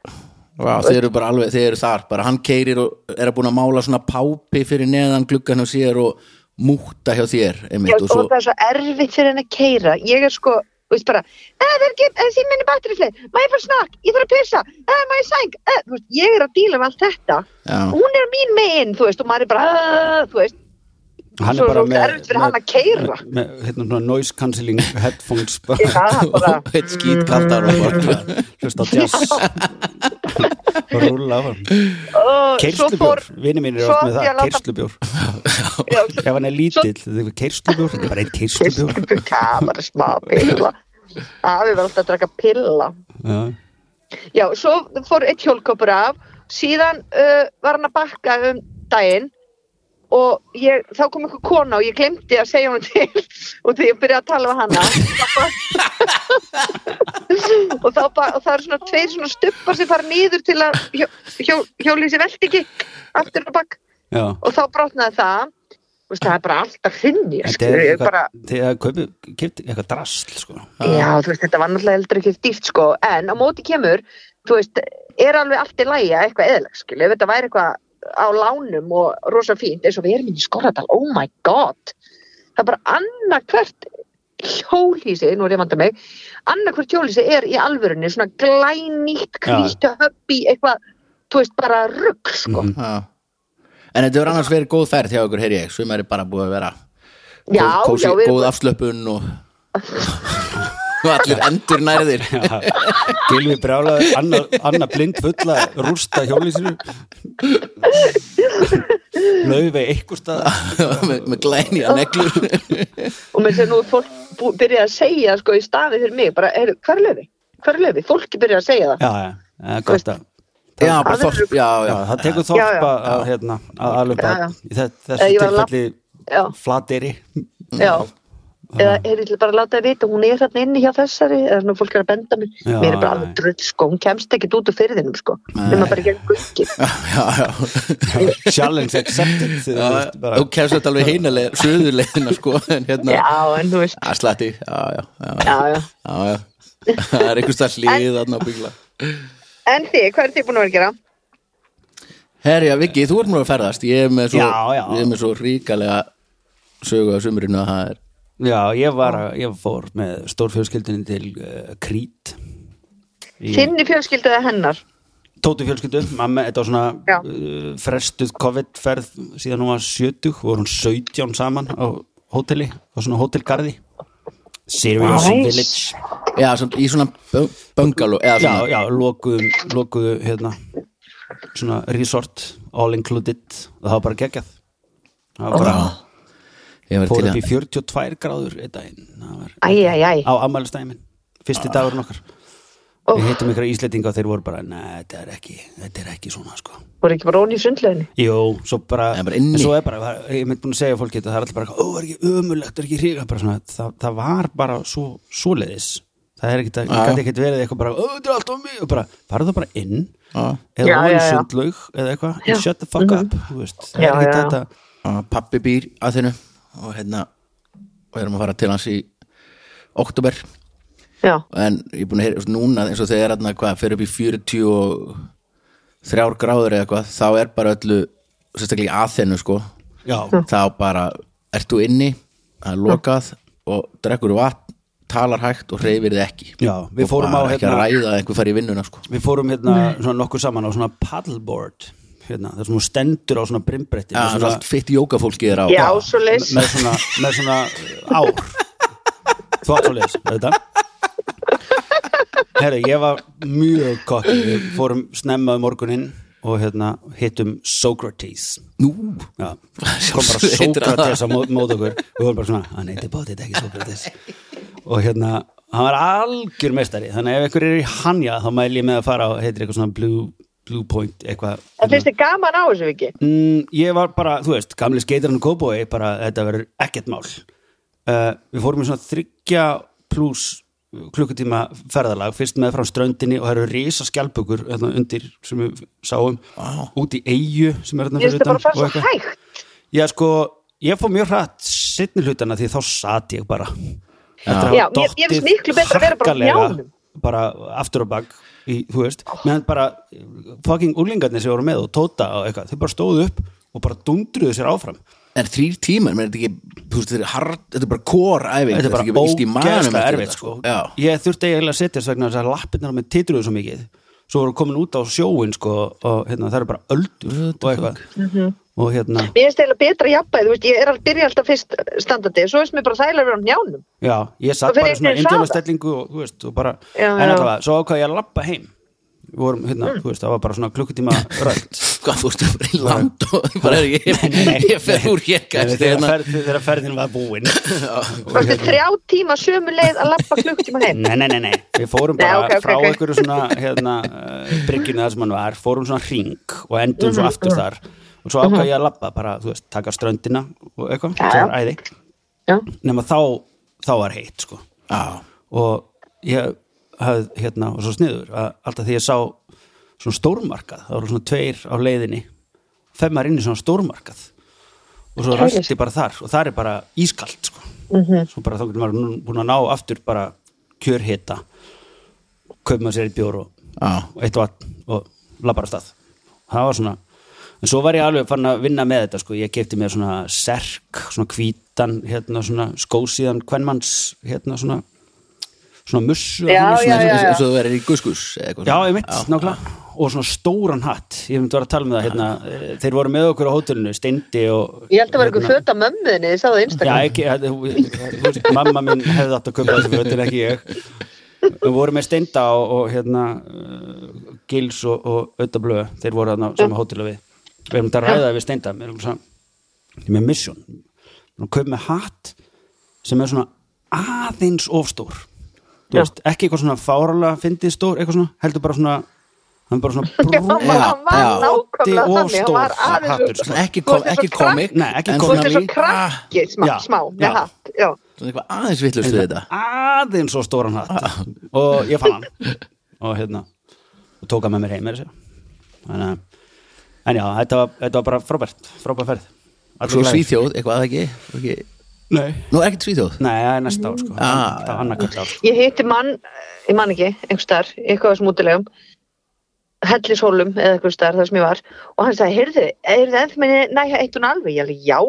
S2: Vá, Þeir eru bara alveg, þeir eru þar bara Hann keirir og er að búin að mála svona pápi fyrir neðan gluggan hjá sér og múta hjá þér
S4: Já,
S2: einmitt,
S4: og
S2: og svo,
S4: það er svo erfitt fyrir henni að keira. Ég er sko, þú veist bara, "Eh, það er ekki, þessi minni batteriflið, má ég fara snakk, ég þarf að pissa, eh, má ég sæng, eh, þú veist, ég er að díla með allt þetta.
S2: já,
S4: Hún er mín megin, þú veist, og maður er bara, "Ah," þú veist,
S3: Hann
S4: Svo
S3: er bara
S4: er
S3: með,
S4: erfitt fyrir hann að keyra.
S3: með hérna, svona noise cancelling headphones bara,
S4: ég það bara,
S2: *laughs*
S4: Mm.
S2: og eitt skýt kaltar og bara
S3: hlusta á jazz og rúla af hann
S4: ó, svo fór,
S3: Kerslubjór, vini mín er
S4: svo
S3: oft með
S4: átti ég að
S3: það
S4: láta-
S3: Kerslubjór,
S4: já,
S3: ef hann er lítill þetta er kerslubjór, þetta er bara einn kerslubjór
S4: fyrstu bara smá pilla. Afi var alltaf að draka pilla.
S3: Já.
S4: Já, svo fór eitt hjólkopur af, síðan uh, var hann að bakka um daginn og ég, þá kom einhver kona og ég glemdi að segja hún til *laughs* og þegar ég byrjaði að tala við hana og, þá, ba- og það eru svona tveir svona stubbar sem fara nýður til að hjó, hjó, hjólið sér velt ekki aftur og bakk
S3: Já.
S4: og þá brotnaði það Þú veist, það er bara alltaf hrunni
S3: Þetta er
S4: skilur, ég bara,
S3: eitthvað, þegar kaupið kipti eitthvað drasl sko. *laughs*
S4: já, þú veist, þetta var náttúrulega heldur ekki dýrt sko, en á móti kemur þú veist, er alveg allt í lægi eitthvað eðalega, skilju, ef þetta væri eitthvað á lánum og rosa fínt eins og við erum inn í skorradal, oh my god það er bara annarkvert hjólísi, nú er ég að vanda mig annarkvert hjólísi er í alvörunni svona glænýtt, hvítt höppi, eitthvað, þú veist, bara rugg sko,
S2: Já. En þetta verður annars verið góð ferð hjá ykkur, heyr ég, sumar er bara búið að vera
S4: já,
S2: góð, kósi,
S4: já, við
S2: góð
S4: erum
S2: afslöpun og, og allir endur nærðir
S3: Gilvi brjálaði Anna, Anna blind fulla rústa hjólísinu Laufey eitthvað stað
S2: *laughs* með, með glæni að neglur
S4: *laughs* og með þess að nú er fólk bú- byrjað að segja sko í staði fyrir mig, bara, heyrðu, hvar er löfi? Hvar er löfi? Fólki byrjað að segja það
S3: Já, já, já, gott að
S2: Já, bara þorp, já, já,
S3: Já, það tekur
S4: Já,
S3: þorpa
S4: já.
S3: að, hérna, að alveg
S4: Já, já.
S3: bara í þe- þessu
S4: Eh, ég var að
S3: tilfelli
S4: Já.
S3: flateri
S4: Já, eða er ég bara að láta það vita hún er þarna inni hjá þessari eða svona fólk er að benda mér,
S3: Já,
S4: mér er bara
S3: já,
S4: alveg
S3: já.
S4: drull sko, hún kemst ekkit út úr fyrirðinum sko, nema bara gegn gukki
S2: já, já.
S3: *laughs* challenge accepted þú veist, bara-
S2: Þú kemst þetta alveg heinalega, söðulegina sko, en hérna
S4: Já, en þú veist,
S2: að slatti, já, já, já,
S4: já, já
S2: já, já. *laughs* Það er einhvers það hlið þarna á byggla
S4: En þið, hvað er þið búin að vera að gera?
S2: Herja, Viki, þú ert nú að ferðast Ég er með svo,
S3: Já, já.
S2: Ég er með svo ríkalega sögu á sumurinu að það er
S3: Já, ég var, að- ég fór með stórfjölskyldinni til uh, Krít Í-
S4: Þinni fjölskyldu eða hennar?
S3: Tóti fjölskyldu, mamma, þetta var svona
S4: Já.
S3: uh, frestuð COVID-ferð síðan hún var 70, voru hún 17 saman á hóteli, á svona hótelgarði Serious
S4: Nice.
S3: Village
S2: Já, samt, í svona bungaló eða
S3: Já,
S2: svona,
S3: já, lokuðu, lokuðu hérna, svona resort all included og það var bara geggjað það var bara,
S2: ég verið
S3: fór
S2: til
S3: upp í
S2: það
S3: 42 gráður einn daginn, það var
S4: Æ, æ, æ,
S3: á ammælistæmin, fyrsti dagurinn okkar
S4: Ó.
S3: við hittum ykkur íslendinga og þeir voru bara, neða, þetta er ekki þetta er ekki svona, sko
S4: voru ekki bara ón í sundleginni?
S3: Jó, svo bara,
S2: Það er bara inni.
S3: en svo er bara það- ég er mynd búin að segja fólki þetta, það er alltaf bara eitthvað, ó, er ekki ömulegt, er ekki hriga bara svona, það, það var bara svo svoleiðis það er ekkit, að, ég
S2: Já.
S3: gæti ekkit verið eitthvað bara, ó, þetta er alltaf mjög og bara, farðu það bara inn
S2: Já.
S3: eða
S4: Já,
S3: ofan í
S4: já, já.
S3: sundlaug eða eitthvað, and shut the fuck up þú veist, það
S4: Já,
S3: er ekkit
S4: já, já.
S3: þetta
S2: Og Pabbi býr að þinu og hérna og erum að fara til hans í oktober
S4: Já,
S2: en ég er búin að heyra, núna eins og þegar hérna hvað, fer upp í 43 gráður eða eitthvað þá er bara öllu, sérstaklega í aðþenu sko,
S3: já,
S4: Hm.
S2: þá bara ert þú inni, það er lokað og drekkur vatn, talar hægt og hreyfir þið ekki
S3: já, við
S2: og
S3: fórum á
S2: bara ekki að
S3: hérna,
S2: ræða að einhver fari í vinnuna sko.
S3: við fórum hérna svona nokkuð saman á svona paddleboard hérna, það sem hún stendur á svona brimbretti
S2: ja, svona, allt fitt jókafólki er á
S4: já, svo leys
S3: með svona, með svona uh, ár þú átt svo leis þetta herru, ég var mjög kokki við fórum snemma um morguninn og hérna hittum Socrates
S2: Nú, *laughs*
S3: Já, kom bara
S2: Heitir hann
S3: Sókrates á mó- móti okkur við vorum bara svona, hann heitir bótið ekki Sókrates og hérna, hann var algjör meistari, þannig að ef ykkur er í hanja þá mæl ég með að fara og heitir eitthvað svona Blue, Blue Point, eitthvað
S4: En finnst þið gaman á þessu ekki?
S3: mm, ég var bara, þú veist, gamli skeitarinn og kóbói, bara þetta verður ekkert mál uh, við fórum í svona þryggja pluss klukkutíma ferðalag, fyrst með frá ströndinni og það eru risa skjálpugur hérna, undir sem við sáum, wow. út í eigu sem er hérna
S4: Ég finnst það bara að fara
S3: og
S4: svo
S3: eitthvað.
S4: hægt
S3: Já, sko, ég fór mjög hratt sittni hlutana því þá sat ég bara Þetta
S4: Já,
S3: hafa
S4: mér- mér finnst
S3: dottið
S4: miklu betra að vera bara á
S3: harkalega
S4: hnjánum.
S3: bara aftur og bak í, þú veist, meðan bara fucking úlingarnir sem voru með og tóta og eitthvað, þau bara stóðu upp og bara dundruðu sér áfram
S2: en þrýr tímar, menn þetta ekki þú veist, þetta er hard, þetta er bara kóræfing
S3: þetta er bara ógeðslega erfitt sko.
S2: Já,
S3: ég þurfti eiginlega að setja þess vegna þess að lappirnar með titruðu svo mikið svo voru komin út á sjóin sko, og hérna, það eru bara öldur og eitthvað
S4: Mhm.
S3: og hérna,
S4: Mér finnst það betra jafnbæði, þú veist, ég er að byrja alltaf fyrst standandi Svo finnst mér bara þægilega að vera á njánum
S3: Já, ég
S4: Og
S3: satt
S4: fyrir
S3: bara í svona
S4: einhvern veginn
S3: indjála
S4: hraða.
S3: stellingu og, þú veist, og bara,
S4: Já, Mm.
S3: en
S4: já.
S3: allavega, svo ákvað ég að labba heim við vorum, hérna, þú veist, það var bara svona klukkutíma
S2: *laughs*
S3: sko. rætt
S2: hvað þú veist, það er bara í land og *laughs* ég bara er ekki, ég fer úr hér kannski,
S3: þegar,
S2: hérna.
S3: ferð, þegar ferðin var búin Og hérna-
S4: Kosti þrjá tíma sömu leið að lappa klukktíma heim
S3: nei, nei, nei, nei, við fórum
S4: Nei,
S3: bara
S4: ok, ok,
S3: frá
S4: ok.
S3: einhverju svona hérna, uh, bryggjunni þar sem hann var fórum svona hring og endum
S4: Mhm.
S3: svo aftur þar og svo ákvað ég að labba bara, þú veist, taka ströndina og eitthvað,
S4: Já,
S3: sem var
S4: já.
S3: æði
S4: Já,
S3: nema þá, þá var heitt, sko
S2: Já,
S3: og ég hafði hérna og svo sniður að alltaf því ég sá svona stórmarkað, það voru svona tveir á leiðinni femmar inn í svona stórmarkað og svo
S4: Kælir.
S3: rætti bara þar og þar er bara ískalt sko. -hmm. svo bara þá getur maður nú- búin að ná aftur bara kjörhita kaup maður sér í bjór og,
S2: Já.
S3: og eitt vatn og labbar á stað það var svona en svo var ég alveg fann að vinna með þetta sko. ég kefti mér svona serk svona hvítan, hérna svona skósíðan kvenmanns, hérna svona svona mussu
S4: Já,
S3: svona-
S4: já, já.
S2: eins og þú verður í guskus
S3: Já, ég mitt, nákvæmlega og svona stóran hatt, ég myndi vera að tala með það hérna, eh, þeir voru með okkur á hótelinu Steindi og hérna,
S4: ég held að vera einhver föt af mömmuðinni, þið sáðu
S3: Já,
S4: Instagram
S3: ekki, eh, þú- þú veist, mamma mín hefði átt að köpa þessi fötin ekki ég Við vorum með Steinda og, og hérna eh, Gils og, og Ötta Blöð þeir voru þarna á sama hótelu við Við erum þetta að ræða við Steinda mér erum svona, ég er með mission Nú köpa með hatt sem er svona aðeins ofstór Þú
S4: Já.
S3: veist, ekki eitthvað svona fáralega fyndið stór, eitthvað svona, heldur bara svona hann er bara
S4: *laughs* Já, hann
S3: svona
S4: var- hann var
S2: Já, já.
S4: nákvæmlega
S3: Broti og
S4: þannig, hann var
S3: stór hattur,
S4: aðeins
S3: sko.
S2: ekki,
S4: Þú
S2: kom,
S4: ert eins
S2: ekki
S4: og
S2: komik
S4: krakk-
S3: Nei, ekki
S2: en
S4: Þú ert
S2: svona
S4: eins og
S2: lí- ah,
S4: krakki, smá,
S3: Já,
S4: smá,
S3: já.
S4: með hatt Já,
S2: svona eitthvað aðeins villust við þetta
S3: aðeins svo stóran hatt og ég fann hann og hérna og tók hann með mér heim meira að segja. en, en já, þetta var, þetta var bara frábært frábær ferð Allir
S2: svo
S3: glaðir.
S2: svíþjóð, eitthvað ekki, ekki.
S3: Nei,
S2: nú er ekkert svíþjóð
S3: Nei, það er næsta ár sko
S2: Ah.
S3: það var annarkvæmt ár
S4: Ég hitti mann, eh, ég man ekki, einhvers staðar, í eitthvað sem útilegum, Hellishólum eða einhvers staðar þar sem ég var og hann sagði, heyrðu, er það ennþá minni næja eitt hún alveg? Ég alveg, já.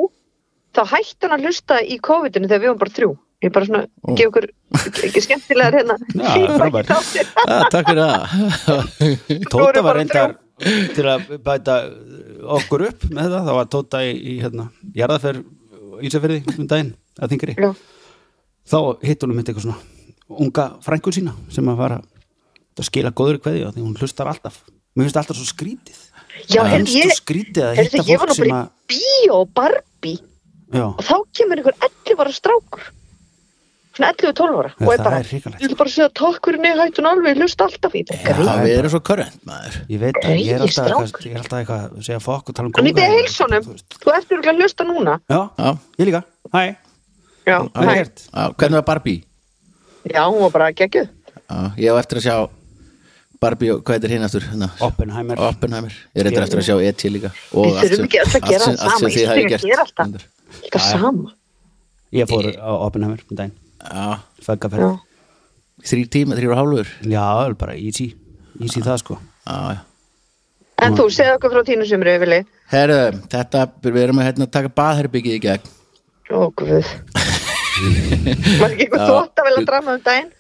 S4: Þá hætti hann að hlusta í COVID-inu þegar við varum bara þrjú. Ég bara svona, oh. gefa okkur ekki skemmtilegar hérna.
S3: *laughs* Já, frábært.
S4: frábært.
S2: ah, takk fyrir það
S3: Tóta var
S4: bara
S3: reyndar til að bæta okkur upp með það, þá var Tóta í, í hérna, jarðaferð Ísafyrði um daginn að þingri
S4: Já.
S3: þá hitt hún mitt eitthvað svona unga frængur sína sem að fara að skila góður kveði og því hún hlustar alltaf mér finnst alltaf svo skrítið
S4: *laughs* Já,
S3: Mér
S4: heyrðu,
S3: finnst svo
S4: ég,
S3: skrítið að
S4: heyrðu,
S3: hitta
S4: ég var
S3: fólk
S4: nú
S3: sem
S4: bara
S3: að
S4: í bíó og Barbie
S3: já,
S4: og þá kemur einhver 11 ára strákur svona 11-12 ára
S3: Já,
S4: og ég
S3: það
S4: bara,
S3: er hrikalegt.
S4: ég vil bara segja tokkurinn í hættun alveg, hlusta alltaf í þetta
S2: *laughs* Já, við erum svo körrent maður
S3: ég veit að ég er
S4: Greyið
S3: alltaf eitthvað,
S4: strákur.
S3: ég er alltaf eitthvað að segja fokk og tala um
S4: Hann myndi að
S3: góðæri.
S4: heilsa honum.
S3: Þú veist.
S4: Þú eftir örugglega að hlusta núna.
S3: já,
S2: Já.
S3: ég líka, hæ,
S4: Já,
S3: hvað er
S4: hæ.
S3: gert
S2: Já, hvernig var Barbie?
S4: Já, hún var bara geggjuð.
S2: Já, ég á eftir að sjá Barbie og hvað er hinn aftur? Hérna?
S3: Oppenheimer,
S2: Oppenheimer Ég reyndar eftir að sjá E.T. líka og
S4: Við
S2: allt sem-
S4: þurfum ekki öll að
S2: allt
S4: gera
S2: sem-
S4: það
S2: allt sem
S4: sama.
S2: þið hafið
S4: Íslingar
S2: gert.
S4: gera alltaf. Þetta sama.
S3: ég fór á Oppenheimer um daginn,
S2: Já,
S3: faggaferð
S4: Já.
S2: þrýr tíma, þrýr og hálfur
S3: já, það er bara easy, easy það sko
S2: Já, já
S4: En þú, segðu okkur frá tínu sumri, Vili.
S2: Herðu, þetta, við erum að hérna, taka baðherbyggið í gegn
S4: Ó,
S3: *laughs*
S4: guð. Var ekki eitthvað þótt að vilja drama um daginn?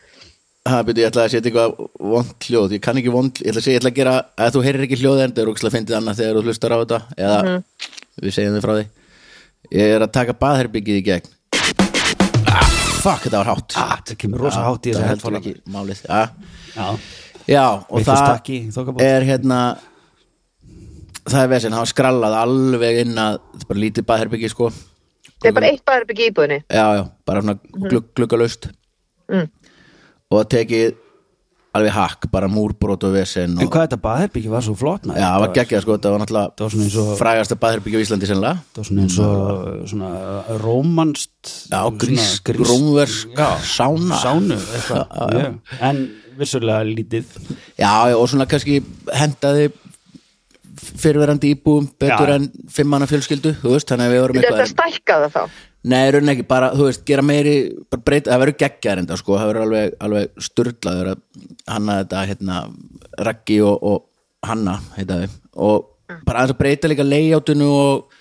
S2: Ha, byrju, ég ætla að setja eitthvað vond hljóð Ég kann ekki vond, ég ætla að segja, ég ætla að gera að þú heyrir ekki hljóð en það er úkslega fyndið annað þegar þú hlustar á þetta eða við segjum þið frá því Ég er að taka baðherbyggið í gegn ah, Fuck, þetta var hátt
S3: ah, það kemur rosa hátt í
S2: Það
S3: þessu
S2: heldur
S3: headphone
S2: ekki málið Já,
S3: já,
S2: já og
S3: Vitlaust takk í þokkabót.
S2: það er hérna það er vesinn, hafa skrallað alveg inn að, þetta er bara lítið baðherbyggi sko
S4: Það er bara eitt baðherbyggi í íbúðinni
S2: já, já, bara svona glugg, gluggalaust
S4: Mhm. Mm.
S2: og það tekið alveg hakk, bara múrbrót og vesinn
S3: En
S2: og,
S3: hvað þetta baðherbyggi var svo flott
S2: já, það var geggjað sko, þetta var náttúrulega
S3: Það var svona eins og-
S2: frægasta baðherbyggi á Íslandi sennilega
S3: Það var svona eins og svona uh, rómanst
S2: já,
S3: svona
S2: grísk,
S3: grísk-
S2: grómversk sána
S3: sánu
S2: *laughs*
S3: eitthvað, mjög. en vissulega lítið
S2: já, já, og svona kannski hendaði fyrirverandi íbúum betur
S3: Já.
S2: en fimmanna fjölskyldu, þú veist, þannig að við vorum
S4: Þetta er
S2: eitthvað
S4: stækkaða þá
S2: Nei, raunin ekki, bara, þú veist, gera meiri bara breyta, það verður geggjar enda, sko það verður alveg, alveg sturlaður að hanna þetta, hérna, Raggi og, og Hanna, heita þau og bara aðeins að breyta líka layoutinu og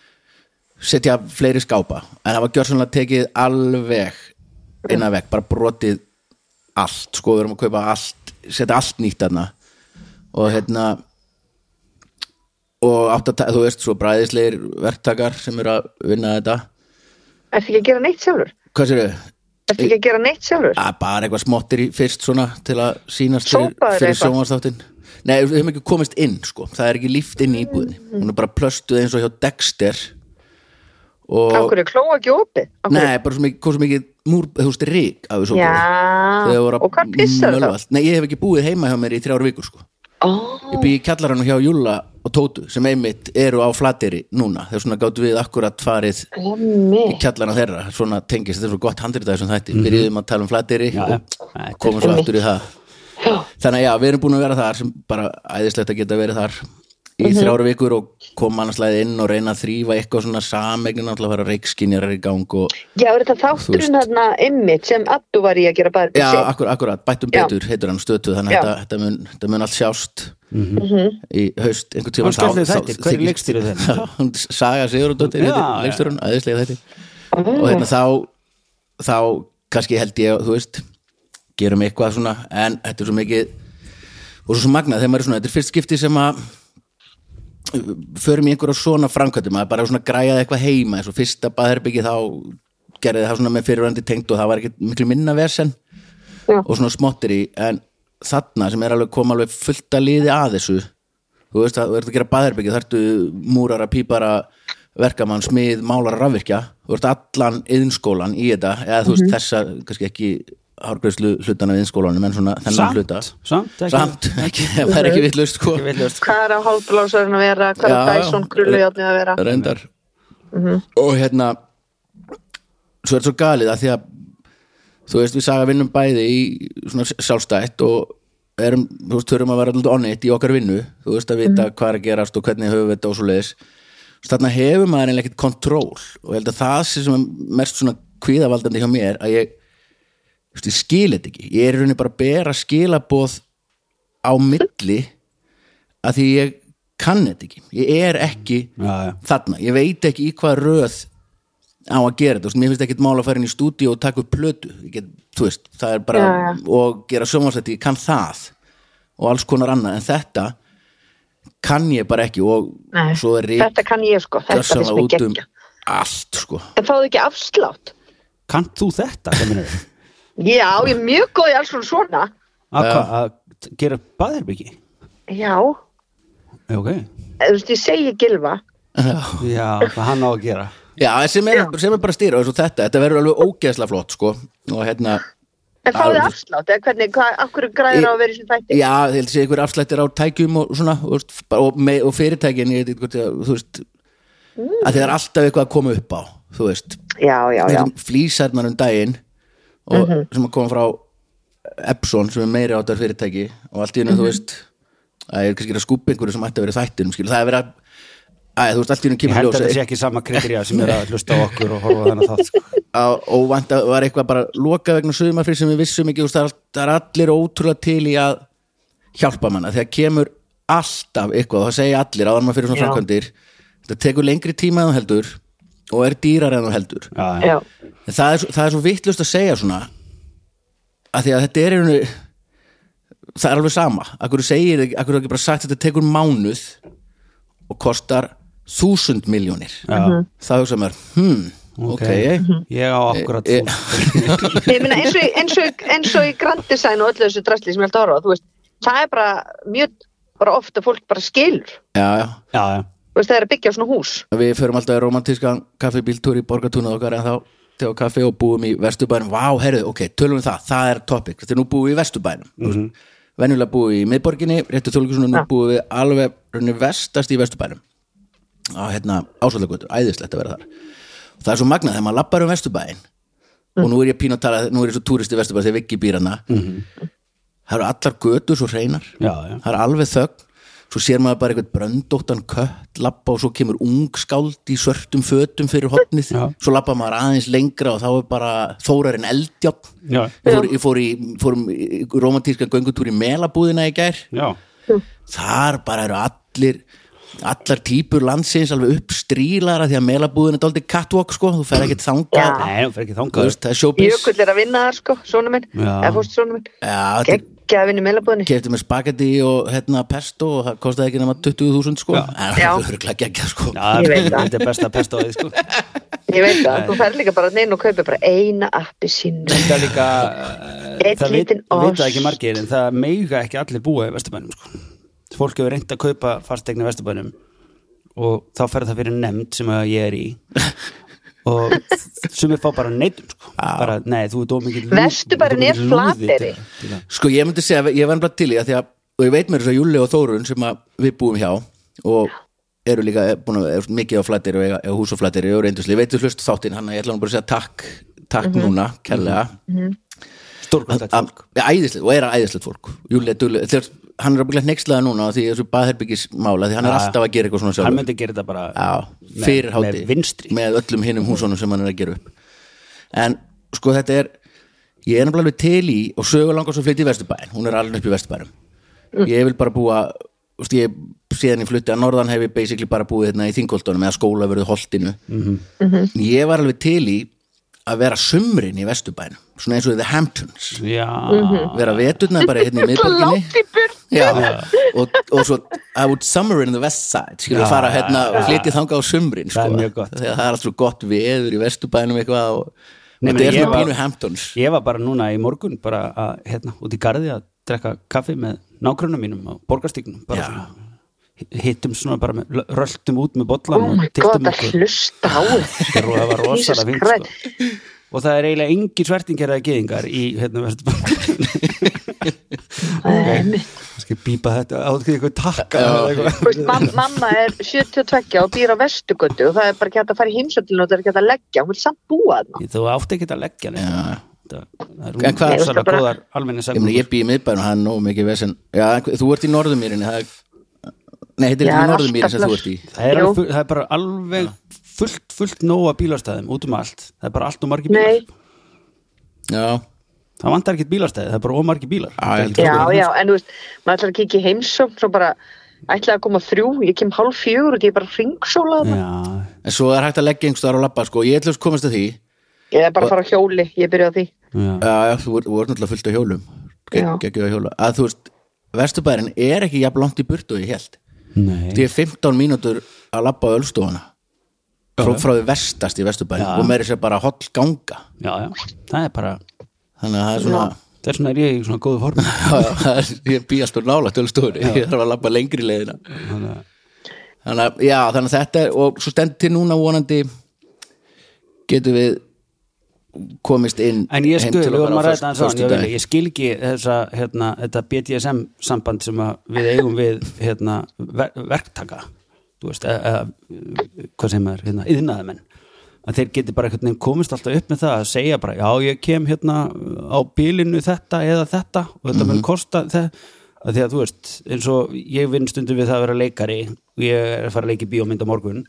S2: setja fleiri skápa, en það var gjörsanlega tekið alveg inn að vekk, bara brotið allt, sko, við erum að kaupa allt setja allt nýtt þarna og hérna og átt að, ta- þú veist, svo bræðisleir verktakar sem eru að vinna þetta
S4: Ertu ekki að gera neitt sjálfur?
S2: Hvað sér þau?
S4: Ertu ekki að gera neitt sjálfur?
S2: Bara eitthvað smottir í fyrst svona til að sýnast fyrir,
S4: Sópaður
S2: fyrir
S4: eitthvað?
S2: sjónvarsþáttinn Nei, við höfum ekki komist inn sko Það er ekki líft inn í íbúðinni
S4: Mhm.
S2: Hún er bara plöstuð eins og hjá Dexter
S4: Af
S2: og...
S4: hverju er klóa ekki opið? Af hverju-
S2: Nei, bara svo mikið, kom svo mikið múr, þú veist, rík af þessu
S4: Já, og hvað pissar það?
S2: Nei, ég hef ekki búið heima hjá mér í þrjár vikur sko
S4: Oh,
S2: Ég bý í kjallarann hjá Júlla og Tótu sem einmitt eru á flateri núna þegar svona gátu við akkurat farið í kjallarna þeirra, svona tengist þetta er svo gott handrið þessum þætti, byrjuðum að tala um flateri
S3: Mhm. Já,
S2: og
S3: já.
S2: komum svo aftur í það þannig að já, við erum búin að vera þar sem bara æðislegt að geta verið þar í þrjára vikur og koma annarslæði inn og reyna að þrýfa eitthvað svona samegnin alltaf að fara reikskinjar í gang og
S4: Já, er þetta þátturinn þarna ymmit sem Addu var í að gera baðherbyggi
S2: já,
S4: sitt?
S2: akkur, akkurat, bættum
S4: Já.
S2: betur heitur hann stötu, þannig að
S4: Já. Mhm.
S2: þetta, þetta, mun, þetta mun allt sjást í haust einhvern tíma
S3: Mhm. Og skemmtilegir þættir, hver leikstýrir
S2: *laughs*
S3: þeim?
S2: Saga Sigurðardóttir
S3: Já,
S2: heitir
S3: já.
S2: leiksturinn, æðislega þættir
S4: Ah.
S2: og hérna þá þá kannski held ég, þú veist gerum eitthvað svona, en þetta er svo mikið og svo magnað þegar maður er svona þetta er fyrst skipti sem að uh, förum í einhverja svona framkvæmdum að bara svona græjaði eitthvað heima eins og fyrsta baðherbyggi þá gerði það svona með fyrirvændi tengt og það var ekki miklu minna vesen
S4: Já.
S2: og svona smottir í en þarna sem er alveg koma alveg fullt að liði að þessu þú veist að þú ert að gera baðherbyggi þartu múrara, pípara verkamann, smið, málara, rafvirkja þú ert allan yðinskólan í þetta eða þú veist þessa, kannski ekki hárgreyslu hlutana við yðinskólanum en svona þennan
S3: Samt,
S2: hluta
S3: samt, ekki-
S2: samt, ekki, það er ekki vitlaust sko
S3: Ekki vitlaust.
S4: Hvað er á hálfblásarinn að vera? Hvað er á
S2: Já, já.
S4: Dyson grullujáttni að vera? Mhm.
S2: reyndar og hérna svo er þetta svo galið að því að þú veist við saga vinnum bæði í svona sjálfstætt og erum, þú veist, þurfum að vera alltaf onnit í okkar vinnu, þú veist að
S4: Mhm.
S2: vita hvað er að gerast og hvernig höfum við þetta og svo leiðis þarna hefur maður einlega ekkert kontról og ég held að það sé sem er mest svona kvíðavaldandi hjá mér að ég, þú veist, ég skil þetta ekki ég er í rauninni bara að bera skilaboð á milli að því ég kann þetta ekki ég er ekki
S3: Já, já.
S2: þarna ég veit ekki í hvað röð á að gera þetta, þú veist, mér finnst ekkit mál að fara inn í stúdíu og taka upp plötu Ég get, þú veist, það er bara,
S4: Já, já.
S2: og gera sjónvarsætti, ég kann það og alls konar annað, en þetta kann ég bara ekki og
S4: Nei,
S2: svo er ég
S4: Þetta kann ég sko, þetta finnst mér
S2: út um
S4: geggja.
S2: allt sko *laughs*
S4: En fáðu ekki afslátt?
S3: Kannt þú þetta? hvað
S2: *laughs*
S3: meinarðu?
S4: Já, ég er mjög góð í alls svona svona.
S3: Að hvað, að gera baðherbyggi?
S4: Já,
S3: Já, Ok,
S4: eða, þú veist, ég segi gilva.
S3: já, hvað hann á að gera
S2: já, sem er, sem er bara að stýra eins og þetta, þetta verður alveg ógeðsla flott sko og hérna,
S4: En fáðu
S2: Já,
S4: afslátt, eða hvernig, hvað, af hverju græður á að vera í þessum þætti?
S2: já, ég held að sé einhver afslættir á tækjum og svona þú veist, bara- og, með, og fyrirtækin, ég veit eitthvað þú veist,
S3: Mm.
S2: að því það er alltaf eitthvað að koma upp á, þú veist
S4: Já, já, já.
S2: flýsarnar um daginn og,
S3: Mhm.
S2: sem að koma frá Epson sem er meiri áttar fyrirtæki og allt í hennu
S3: Mhm.
S2: þú veist að ég er kannski að skúpa einhverju sem ætti að vera í þættinum skilu. það er verið að, að þú veist allt í hennu
S3: Ég
S2: kemur
S3: held að
S2: ljós
S3: þetta sé ekki sama kriterja sem er að hlusta á okkur og horfa á þennan þátt sko.
S2: að- og vant að var eitthvað bara lokað vegna sögumafrið sem við vissum ekki þú veist, það er allt- það er allir ótrúlega til í að hjálpa manna þegar kemur alltaf eitthvað þá segja allir áður en maður fyrir svona
S4: Já.
S2: framkvæmdir þetta tekur lengri tíma en þú heldur og er dýrar en þú heldur
S3: Já, já.
S4: Já,
S2: En það er, svo- það er svo vittlust að segja svona að því að þetta er einu, það er alveg sama akkur segir, akkur er ekki bara sagt þetta tekur mánuð og kostar þúsund miljónir
S3: Já. Mhm.
S2: þá hugsa maður, hmm, ok,
S3: Ég á akkurat
S2: Ég-
S3: þú
S4: ég meina eins og, í- eins, og, í- eins og í Grand Design og öllu þessu drastli sem ég held að horfa, á, þú veist, það er bara mjög, bara ofta fólk bara skilur.
S2: já, já
S3: Já, já
S4: Þú veist, það er að byggja svona hús
S2: Við förum alltaf í romantískan kaffibíltúr í borgatúnað okkar en þá tegum kaffi og búum í vesturbænum Vá, herðu, ok, tölum við það, það er topic Þetta er nú búið í vesturbænum mm -hmm. Venjulega búið í miðborginni, réttu þjóðleikusinu Nú
S4: Já.
S2: búið við alveg runni vestast í vesturbænum Á hérna ásvöldagötur, æðislegt að vera þar Það er svo magnað þegar maður lappar um vesturbæn Og nú er ég pín að tala, nú er ég svo túrist í vesturbæn Þegar Viggi býr hana mm Það eru allar götur svo hreinar
S3: Já, já.
S2: það er alveg þögn svo sér maður bara eitthvað bröndóttan kött lappa og svo kemur ung skáld í svörtum fötum fyrir hotnið
S3: Já.
S2: svo lappa maður aðeins lengra og þá er bara þórarinn eldjátt
S3: Já,
S2: ég fór, ég fór í, fórum í romantíska göngutúr í Melabúðina í gær
S3: já,
S2: þar bara eru allir allar típur landsins alveg uppstrílara því að Melabúðin er dálítið catwalk sko, þú fer ekkert þangað
S3: nei, það fyrir ekki
S2: Þú
S3: þangað
S2: veist, það er showbiz
S4: Jökull er að vinna þar sko, svona minn
S3: Já.
S4: eða fórst svona minn
S2: Já, þetta er-
S4: Gekkja að vinna í meilabúðinni
S2: kefti með spagetti og hérna pesto og það kostiði ekki nema 20.000 sko
S3: Já.
S2: en
S4: Já.
S2: *laughs* það er örgulega geggjað sko
S3: Já,
S4: Ég veit það.
S3: þetta er besta pesta á því sko
S4: Ég veit það, þú fer líka bara neinn og kaupir bara eina appi sínu
S3: Það er
S4: *laughs*
S3: líka
S4: Einn
S3: Það veit,
S4: lítinn
S3: veit
S4: ost.
S3: það ekki margir en það meiga ekki allir búa í Vesturbænum sko. Fólk hefur reynd að kaupa fastegna í Vesturbænum og þá fer það fyrir nefnd sem að ég er
S4: *laughs*
S3: í og sumir fá bara neitt sko. bara, nei, þú ert ómikið
S4: Vesturbærinn er Flateyri.
S2: sko ég myndi segja, að ég var bara til í það því að, og ég veit mér þess að Júli og Þórun sem að við búum hjá og eru líka búin að er mikið á flattir og eiga, eiga hús á flattir og reyndusli, ég veit þú hlust þáttinn hann að ég ætla hann bara að segja takk takk núna, kærlega
S3: Mhm. Stórkvæmt
S2: Að- ja, æðislegt, og er æðislegt fólk Júli, er dugleg- þegar hann er ábygglega neykslaða núna á því þessu baðherbyggismála því hann er
S3: Já, já.
S2: alltaf að gera eitthvað svona
S3: Hann
S2: sjálfur
S3: myndi gera þetta bara
S2: Já,
S3: með-
S2: fyrir hátti
S3: með vinstri
S2: með öllum hinnum húsunum sem hann er að gera upp en sko þetta er ég er nefnilega alveg til í og sögur langar svo flytti í Vesturbæin, hún er alveg upp í
S3: Mm.
S2: Vesturbærum ég vil bara búa þú veist, ég, síðan ég flutti að norðan hef ég basically bara búið hérna í þingoltunum eða skóla verið holtinu
S3: Mhm.
S2: ég var alveg til í að vera sumrin í Vesturbæin svona eins og The Hamptons
S3: Já,
S4: Mhm.
S2: vera veturna bara hérna í
S4: Langt í
S2: miðborginni
S4: burt
S2: Já, og, og svo I would summer in the west side skilur
S3: Já,
S2: fara hérna og flytja þanga á sumrin sko.
S3: Það er mjög gott.
S2: þegar það er alltaf gott veður í vesturbænum eitthvað og
S3: Nei,
S2: þetta
S3: meni,
S2: er
S3: ég
S2: svona
S3: var-
S2: pínu Hamptons
S3: ég var bara núna í morgun bara að, hérna, út í garði að drekka kaffi með nágrunum mínum á borgarstíknum bara
S2: Já.
S3: svona hi- hittum svona bara með, röltum út með bollan
S4: Oh
S3: og
S4: my god,
S3: tiltum
S4: að hlusta á
S3: Þetta er- það var rosalega fínt
S4: Christ.
S3: sko. og það er eiginlega engin svertingar eða geðingar í hérna verðum kannski bípa þetta á því eitthvað takka eða eitthvað.
S4: Þú veist, mam, Mamma er 72 og býr á vestugötu og það er bara ekki hægt að fara í heimsöldinu og það er ekki hægt að leggja, hún vil samt búa þarna
S3: þú átti ekki að leggja neitt. það það
S2: En
S3: er
S2: hvað-
S3: rosalega
S4: Bara-
S3: góðar almenni
S2: ég, meni, ég býi í miðbænum, það er nóg mikið vesen Já, en þú ert í norðumýrinni það er... nei, þetta er
S4: Já,
S2: ekki
S4: alltaf
S2: norðumýrin sem þú
S4: blöss.
S2: ert í
S3: það er,
S4: Jú.
S3: alveg, full- það er bara alveg fullt, fullt nóga bílastæðum út um allt það er bara allt og margir bílar
S4: Nei,
S2: já,
S3: það vantar ekkert bílastæði, það er bara ómargir bílar
S2: Já, ég held
S4: já, já, en þú veist, maður ætlar að kíkja í heimsöld svo bara ætlaði að koma þrjú, ég kem hálf fjögur og ég er bara
S3: já,
S4: ringsólað þarna.
S2: en svo er hægt að leggja einhverstaðar á labba sko, ég ætla að komast að því
S4: Ég er bara að fara á hjóli, ég byrja á því
S3: já.
S2: Já, já, þú voru, voru náttúrulega fullt af hjólum
S4: Já.
S2: geggjum að hjóla að þú veist, vesturbærin er ekki jafn langt í burtu og ég held
S3: Nei.
S2: Því er 15 mínútur að labba á ölstofana frá, frá því vestast í vesturbæri
S3: Já.
S2: og meiri sér bara holl ganga
S3: já, já, það er bara
S2: þannig að það er svona
S3: það er svona er ég í svona góðu form
S2: *laughs* Já, já, það er- ég bý alltaf nálægt ölstofunni ég þarf að labba lengri leiðina
S3: Þannig að-
S2: þannig að, já, þannig að þetta er og svo stendur til núna vonandi getum við komist inn
S3: En ég
S2: heim
S3: skil,
S2: til
S3: við
S2: okkar
S3: vorum
S2: á
S3: að ræða
S2: föst-
S3: það svona, ég, vil,
S2: föstudaginn.
S3: ég skil ekki þessa, hérna, þetta BDSM samband sem að við eigum við hérna, ver, verktaka þú veist, eða, eða hvað sem er, hérna, yðnaðumenn að þeir geti bara einhvern veginn komist alltaf upp með það að segja bara, já ég kem hérna á bílinu þetta eða þetta og þetta
S2: Mhm.
S3: mun kosta það að því að þú veist, eins og ég vinn stundum við það að vera leikari og ég er að fara að leika í bíómynd á morgun,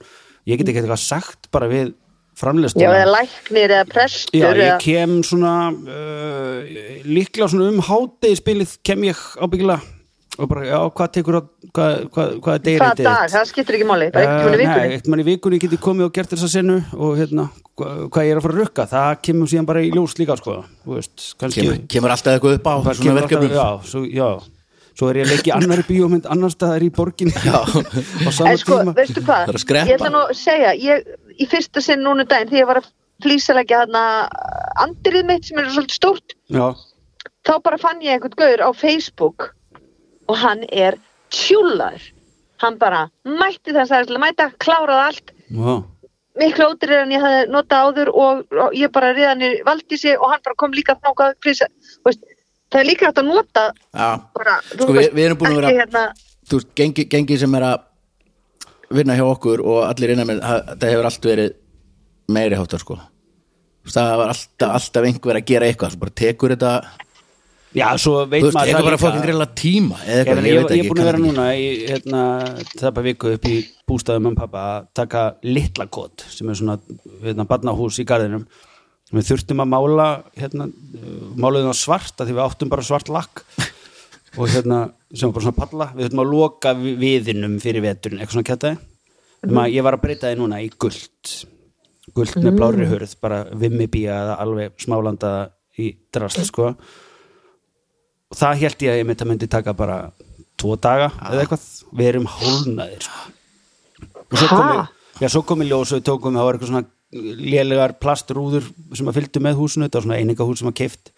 S3: ég get ekki eitthvað sagt bara við framleysna
S4: Já, eða læknir eða prestur
S3: Já, ég
S4: eða-
S3: kem svona uh, líklega svona um hátegispilið kem ég ábyggilega og bara, já, hvað tekur á hvað, hvað, hvað er degir
S4: Hvaða dag, það skiptir ekki máli, bara
S3: Uh,
S4: einhvern veginn í
S3: nei,
S4: vikunni
S3: eitt mann í vikunni geti komið og gert þessa senu og hérna, hva, hvað ég er að fara að rukka það kemur síðan bara í ljós líka sko, þú veist, kannski
S2: kemur, kemur alltaf eitthvað upp á
S3: Bara
S2: svona
S3: kemur
S2: verkefnum
S3: alltaf- já, svo, já, svo er ég að leggja í annari bíómynd annar staðar í borginni *laughs* á sama
S4: En sko,
S3: tíma
S4: veistu hvað,
S2: Það er að skreppa.
S4: ég ætla nú að segja ég, í fyrsta sinn núna um daginn því ég var að flýsalegja hérna andrið mitt sem er svolítið stórt
S3: já,
S4: þá bara fann ég einhvern gaur á Facebook og hann er tjúlar hann bara mætti það sagðist til að mæta, kláraði allt
S3: Vá.
S4: miklu ódýrir en ég hafði notað áður og, og ég bara riðan í valdísi og hann bara kom líka þákað prisa, veist, það er líka hægt að nota
S2: Já,
S4: bara, þú
S2: Sko, við- við erum búin að
S4: ekki
S2: vera-
S4: hérna,
S2: þú veist, gengi, gengi sem er að vinna hjá okkur og allir innan með það hefur allt verið meiri hátar sko Þú veist, það var alltaf, alltaf einhver að gera eitthvað svo bara tekur þetta,
S3: já, svo veit
S2: þú veist,
S3: maður
S2: eitthvað bara fókin grilla tíma eða
S3: Ég,
S2: eitthvað,
S3: ég, ég,
S2: veit ekki
S3: er búin að
S2: kann
S3: vera
S2: ekki.
S3: núna í hérna, þappa viku upp í bústæðum um pappa að taka litla kot sem er svona hérna, barnahús í garðinum við þurftum að mála hérna, máluðum á svart að því við áttum bara svart lakk
S2: *laughs*
S3: og hérna sem var bara svona palla, við þurftum að loka vi- viðinum fyrir veturinn, eitthvað svona kjætaði
S2: Mhm.
S3: mm að ég var að breyta því núna í gult gult með
S2: Mhm.
S3: blári hörð bara vimmibía eða alveg smálanda í drast sko og það held ég að ég mitt að myndi taka bara tvo daga
S2: Ah.
S3: eða eitthvað við erum hólnaðir sko. og svo komi,
S4: Ha?
S3: já, svo komi ljós og við tókum það var eitthvað svona lélegar plastrúður sem að fylgdu með húsinu þetta var svona einingahús sem að keift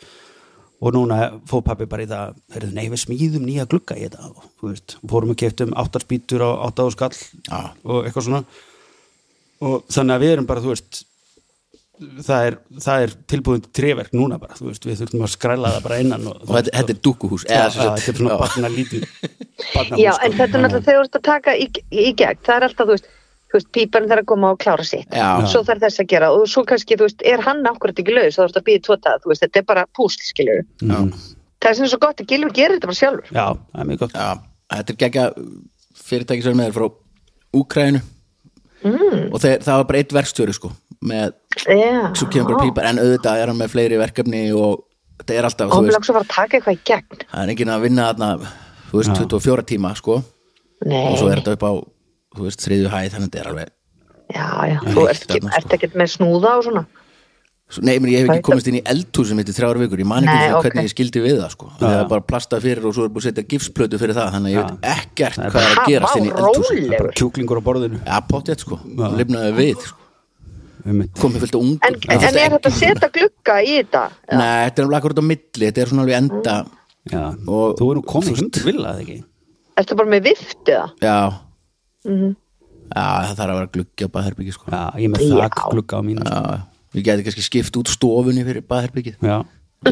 S3: og núna fóð pappi bara í það heyrðu, nei við smíðum nýja glugga í þetta og þú veist, fórum að keiftum áttarspítur á áttaðu skall
S2: Já.
S3: og eitthvað svona og þannig að við erum bara, þú veist það er, það er tilbúin tréverk núna bara, þú veist, við þurfum að skræla það bara innan og,
S2: og þetta, þetta er dúkuhús
S3: Já,
S2: eða, sem
S3: já,
S2: sagt-
S3: þetta er svona
S2: já.
S3: barna
S2: *laughs*
S3: lítið barnahús,
S4: já,
S3: sko.
S4: en þetta er náttúrulega þegar þú ert að taka í, í gegn, það er alltaf, þú veist, þú veist píparinn þarf að koma og klára sitt
S2: Já.
S4: svo þarf þess að gera og svo kannski, þú veist, er hann akkurat ekki laus, þá þarf þetta að býða tóta þú veist, þetta er bara púsl, skilur
S2: Já.
S4: það er sem er svo gott að Gilvi gerir þetta bara sjálfur
S3: Já, það er mjög gott
S2: Já, þetta er gegja fyrirtæki sem er með þér frá Úkrænu mm. og þeir, það var bara eitt verkstjóri sko með,
S4: já,
S2: svo kemur bara pípar en auðvitað er hann með fleiri verkefni og þetta er alltaf,
S4: og
S2: þú
S4: hann
S2: veist,
S4: lags að fara að taka eitthvað í gegn
S2: það er enginn að vinna þarna, þú veist, 24 tíma sko og svo
S4: nei,
S2: er þetta upp á, þú veist, þriðju hæð þannig að þetta er alveg,
S4: já, já, þú ert
S2: þarna,
S4: ekki-
S2: sko.
S4: ert ekkert með snúða og svona
S2: Svo- nei, meni, ég hef
S4: Það
S2: ekki
S4: er
S2: komist inn í eldhús sem heitir þrjár vikur, ég man ekki
S4: Nei,
S2: einu sinni
S4: ok.
S2: hvernig ég skildi við það sko, það er bara plastað fyrir og svo er búið að setja gifsplötu fyrir það, þannig að ég veit ekkert hvað er
S4: Ha,
S2: að gerast
S4: vá,
S2: inn í eldhús
S4: rólegur.
S3: Bara kjúklingur á borðinu
S2: Já, potið sko, lifnaði við sko.
S3: einmitt.
S2: komið fullt af ungum
S4: en, en er þetta að setja glugga í þetta
S2: Nei, þetta er alveg akkur út á milli, þetta er svona alveg enda
S4: Mm.
S3: Já,
S2: Og-
S3: þú er nú komið hundur vilja það ekki
S4: ertu bara með viftu það
S2: Já
S4: Mhm.
S2: Já, það þarf að vera gluggi á baðherbyggi sko.
S3: Já, ég er með
S4: Já.
S3: þak glugga á mínu
S2: Já, Við gæti kannski skipt út stofunni fyrir baðherbyggið
S3: Já,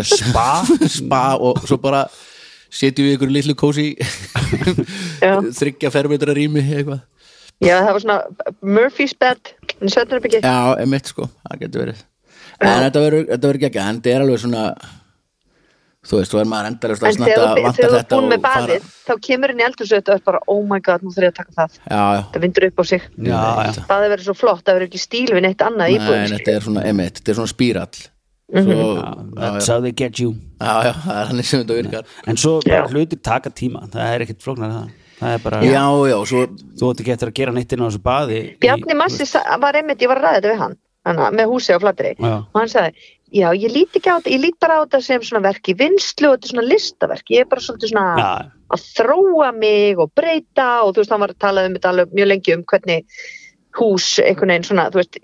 S2: Spa Spa og svo bara setjum við ykkur litlu kósi
S4: Já.
S2: þryggja fermetra rými eitthvað
S4: já, það var svona Murphy's bed en setjum þetta ekki
S2: Já, emitt sko, það getur verið En þetta verður, þetta verður ekki en þetta er alveg svona þú veist, þú er maður endalega
S4: En þegar þú- þegar þú ert búin með
S2: fara
S4: baðið, þá kemur inn í eldursuðu og er bara, oh my god, nú þarf ég að taka það.
S2: Já, já,
S4: Það vindur upp á sig.
S3: já, já
S4: Baðið verður svo flott, það verður ekki stíl við neitt annað
S2: Nei,
S4: íbúðum.
S2: þetta er svona emitt, þetta er svona spírall
S4: Mhm.
S2: Svo,
S3: That's how they get you
S2: já, já, það er hann sem þetta virkar
S3: En svo bara
S4: Já.
S3: hlutir taka tíma Það er ekkit flóknar það Það er bara,
S2: Já, já, svo
S3: þú átt ekki eftir að gera neitt inn á þessu baði í-
S4: Bjarni Massi sa- var einmitt, ég var að ræða þetta við hann, hana, með húsi á flatri.
S3: Já.
S4: Og hann sagði, já, ég lít ekki á þetta, ég lít bara á þetta sem svona verk í vinslu og þetta er svona listaverk. Ég er bara svolítið svona
S3: Já,
S4: að þróa mig og breyta og þú veist, hann var að tala um þetta alveg mjög lengi um hvernig hús einhvern veginn svona, þú veist,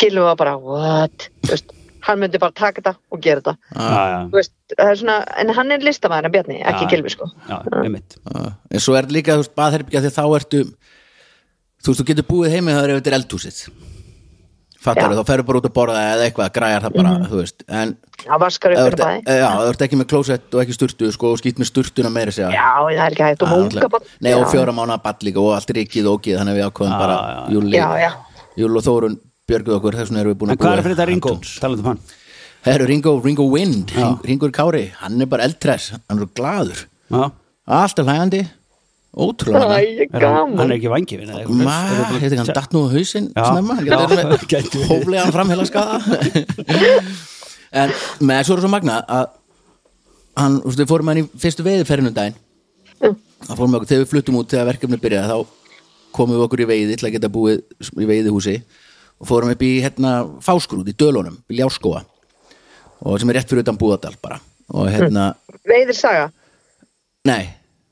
S4: gilum var bara, what? Þú veist, hann myndi bara taka þetta og gera þetta.
S3: já, já,
S4: Þú veist, það er svona, en hann er listamæður en Bjarni, ekki
S3: Já.
S4: Gilvi sko
S3: já, einmitt
S2: uh, En svo er líka, þú veist, baðherbyggja því að þá ertu Þú veist, þú getur búið heimi þar ef þetta er eldhúsið Fattar þú, þá ferðu bara út að borða eða eitthvað, græjar það bara, þú veist En,
S4: hann vaskar Mhm.
S2: ef
S4: upp
S2: þú
S4: fyrir
S2: ert- e-
S4: bæði
S2: já, þú ert ekki með klósett og ekki sturtu, sko, og skýtt með sturtuna meira segja
S4: já, það er ekki hægt og munga bara
S2: Nei, og fjóra mánu að ball líka og allt rikið og ógið, þannig að við ákveðum bara Júli,
S4: Já, já.
S2: Júli og Þórun björguð okkur, þess vegna erum við búin
S3: En
S2: að
S3: hvað er
S2: búa
S3: fyrir þetta Ringo?
S2: Hamptons.
S3: Talandi um hann
S2: Það eru Ringo, Ringo Wind Ring- Ringur Kári, hann er bara eldtress hann er svo gladur,
S3: Já,
S2: alltaf hlægandi ótrúlega hlæg.
S4: Æ,
S3: er hann, hann
S4: gaman
S3: er ekki vangifin
S2: Ma, heitir hann datt nú á hausinn
S3: Já.
S2: snemma, hann getur
S3: Já,
S2: verið með
S3: gæti verið.
S2: hóflegan framheila skada
S3: *laughs*
S2: en með svo er svo magna að hann, þú veist, við fórum með hann í fyrstu veiði ferðinu daginn það fórum við okkur, þegar við fluttum út þegar verkefni byrjaði þá komum við okkur í veiði til að geta búið í veiðihúsi og fórum upp í hérna fáskrút í Dölunum, í Ljáskóa og sem er rétt fyrir utan Búðardal bara og hérna,
S4: veiðir saga,
S2: nei,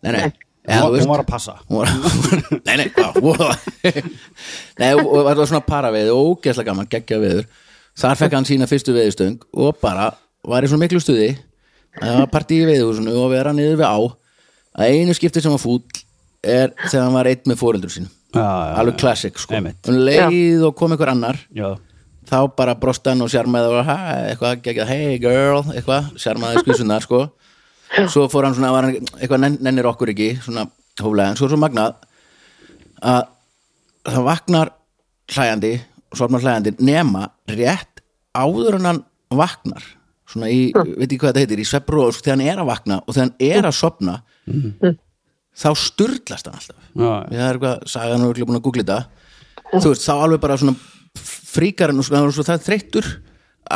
S2: nei, nei, Eða, þú
S3: Hún
S2: veist-
S3: var að passa
S2: *laughs* Hún var- nei, nei, hvað wow. *laughs* nei, og og þetta var svona paraveið og ógeðslega gaman, geggja veður þar fekk hann sína fyrstu veðustöng og bara var í svona miklu stuði að það var partí í veðuhúsinu og vera niður við á að einu skipti sem var fúll er þegar hann var einn með fóreldur sín
S3: já,
S2: alveg classic sko
S3: Einmitt.
S2: um leið og kom einhver annar
S3: já,
S2: þá bara brosti hann og sjarmaði og "Ha, eitthvað, geggjað, hey girl eitthvað, sjarmaði skusunar sko svo fór hann svona, var hann eitthvað nenn- nennir okkur ekki, svona hóflega en svo er svo magnað að það vaknar hlæjandi og svopnar hlæjandi nema rétt áður en hann vaknar svona í, veit ekki hvað þetta heitir, í svepprós þegar hann er að vakna og þegar hann er að sopna þá sturlast hann alltaf
S3: já,
S2: það er eitthvað, sagan er örugglega búin að googla þetta þú veist, þá alveg bara svona fríkar hann og svona, hann var svo það þreyttur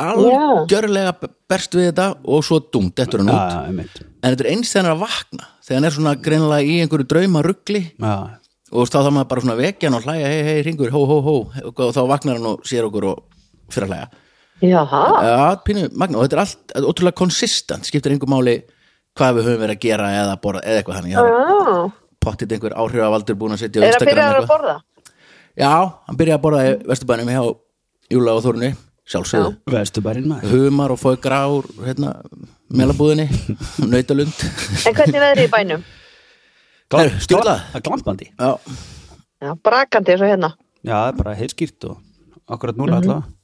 S2: alveg gjörlega berst við þetta og svo dumt, þetta er hann út
S3: já, einmitt
S2: en þetta er eins þegar hann er að vakna þegar hann er svona greinlega í einhverju drauma ruggli
S3: já,
S2: og þá þá maður bara svona vekja hann og hlæja, hei, hei, ringur, hó, hó, hó og þá vaknar hann og sér okkur og fyrir að hlæja
S4: Jaha,
S2: Já, pínu magna og þetta er allt þetta er ótrúlega konsistent, skiptir einhver máli hvað við höfum verið að gera eða borða eða eitthvað þannig, ég
S4: já.
S2: haf pottið einhver áhrifavaldur búin að setja á Instagram
S4: Ah. Er það byrjaður
S2: eitthvað.
S4: að borða?
S2: Já, hann byrjaði að borða í Vesturbænum hjá Júla og Þórunni, sjálfsögðu
S3: vestu bara inn maður
S2: Humar og fóði grár, hérna, melabúðinni, *laughs* nautalund
S4: En hvernig er veðrið í bænum?
S2: Glam-
S3: Glam-
S2: stjórnað.
S3: glam- það er glampandi
S2: Já,
S4: Já, brakandi eins og hérna.
S3: já, það er bara heilskýrt og akkurat
S4: Mhm.
S3: núna allavega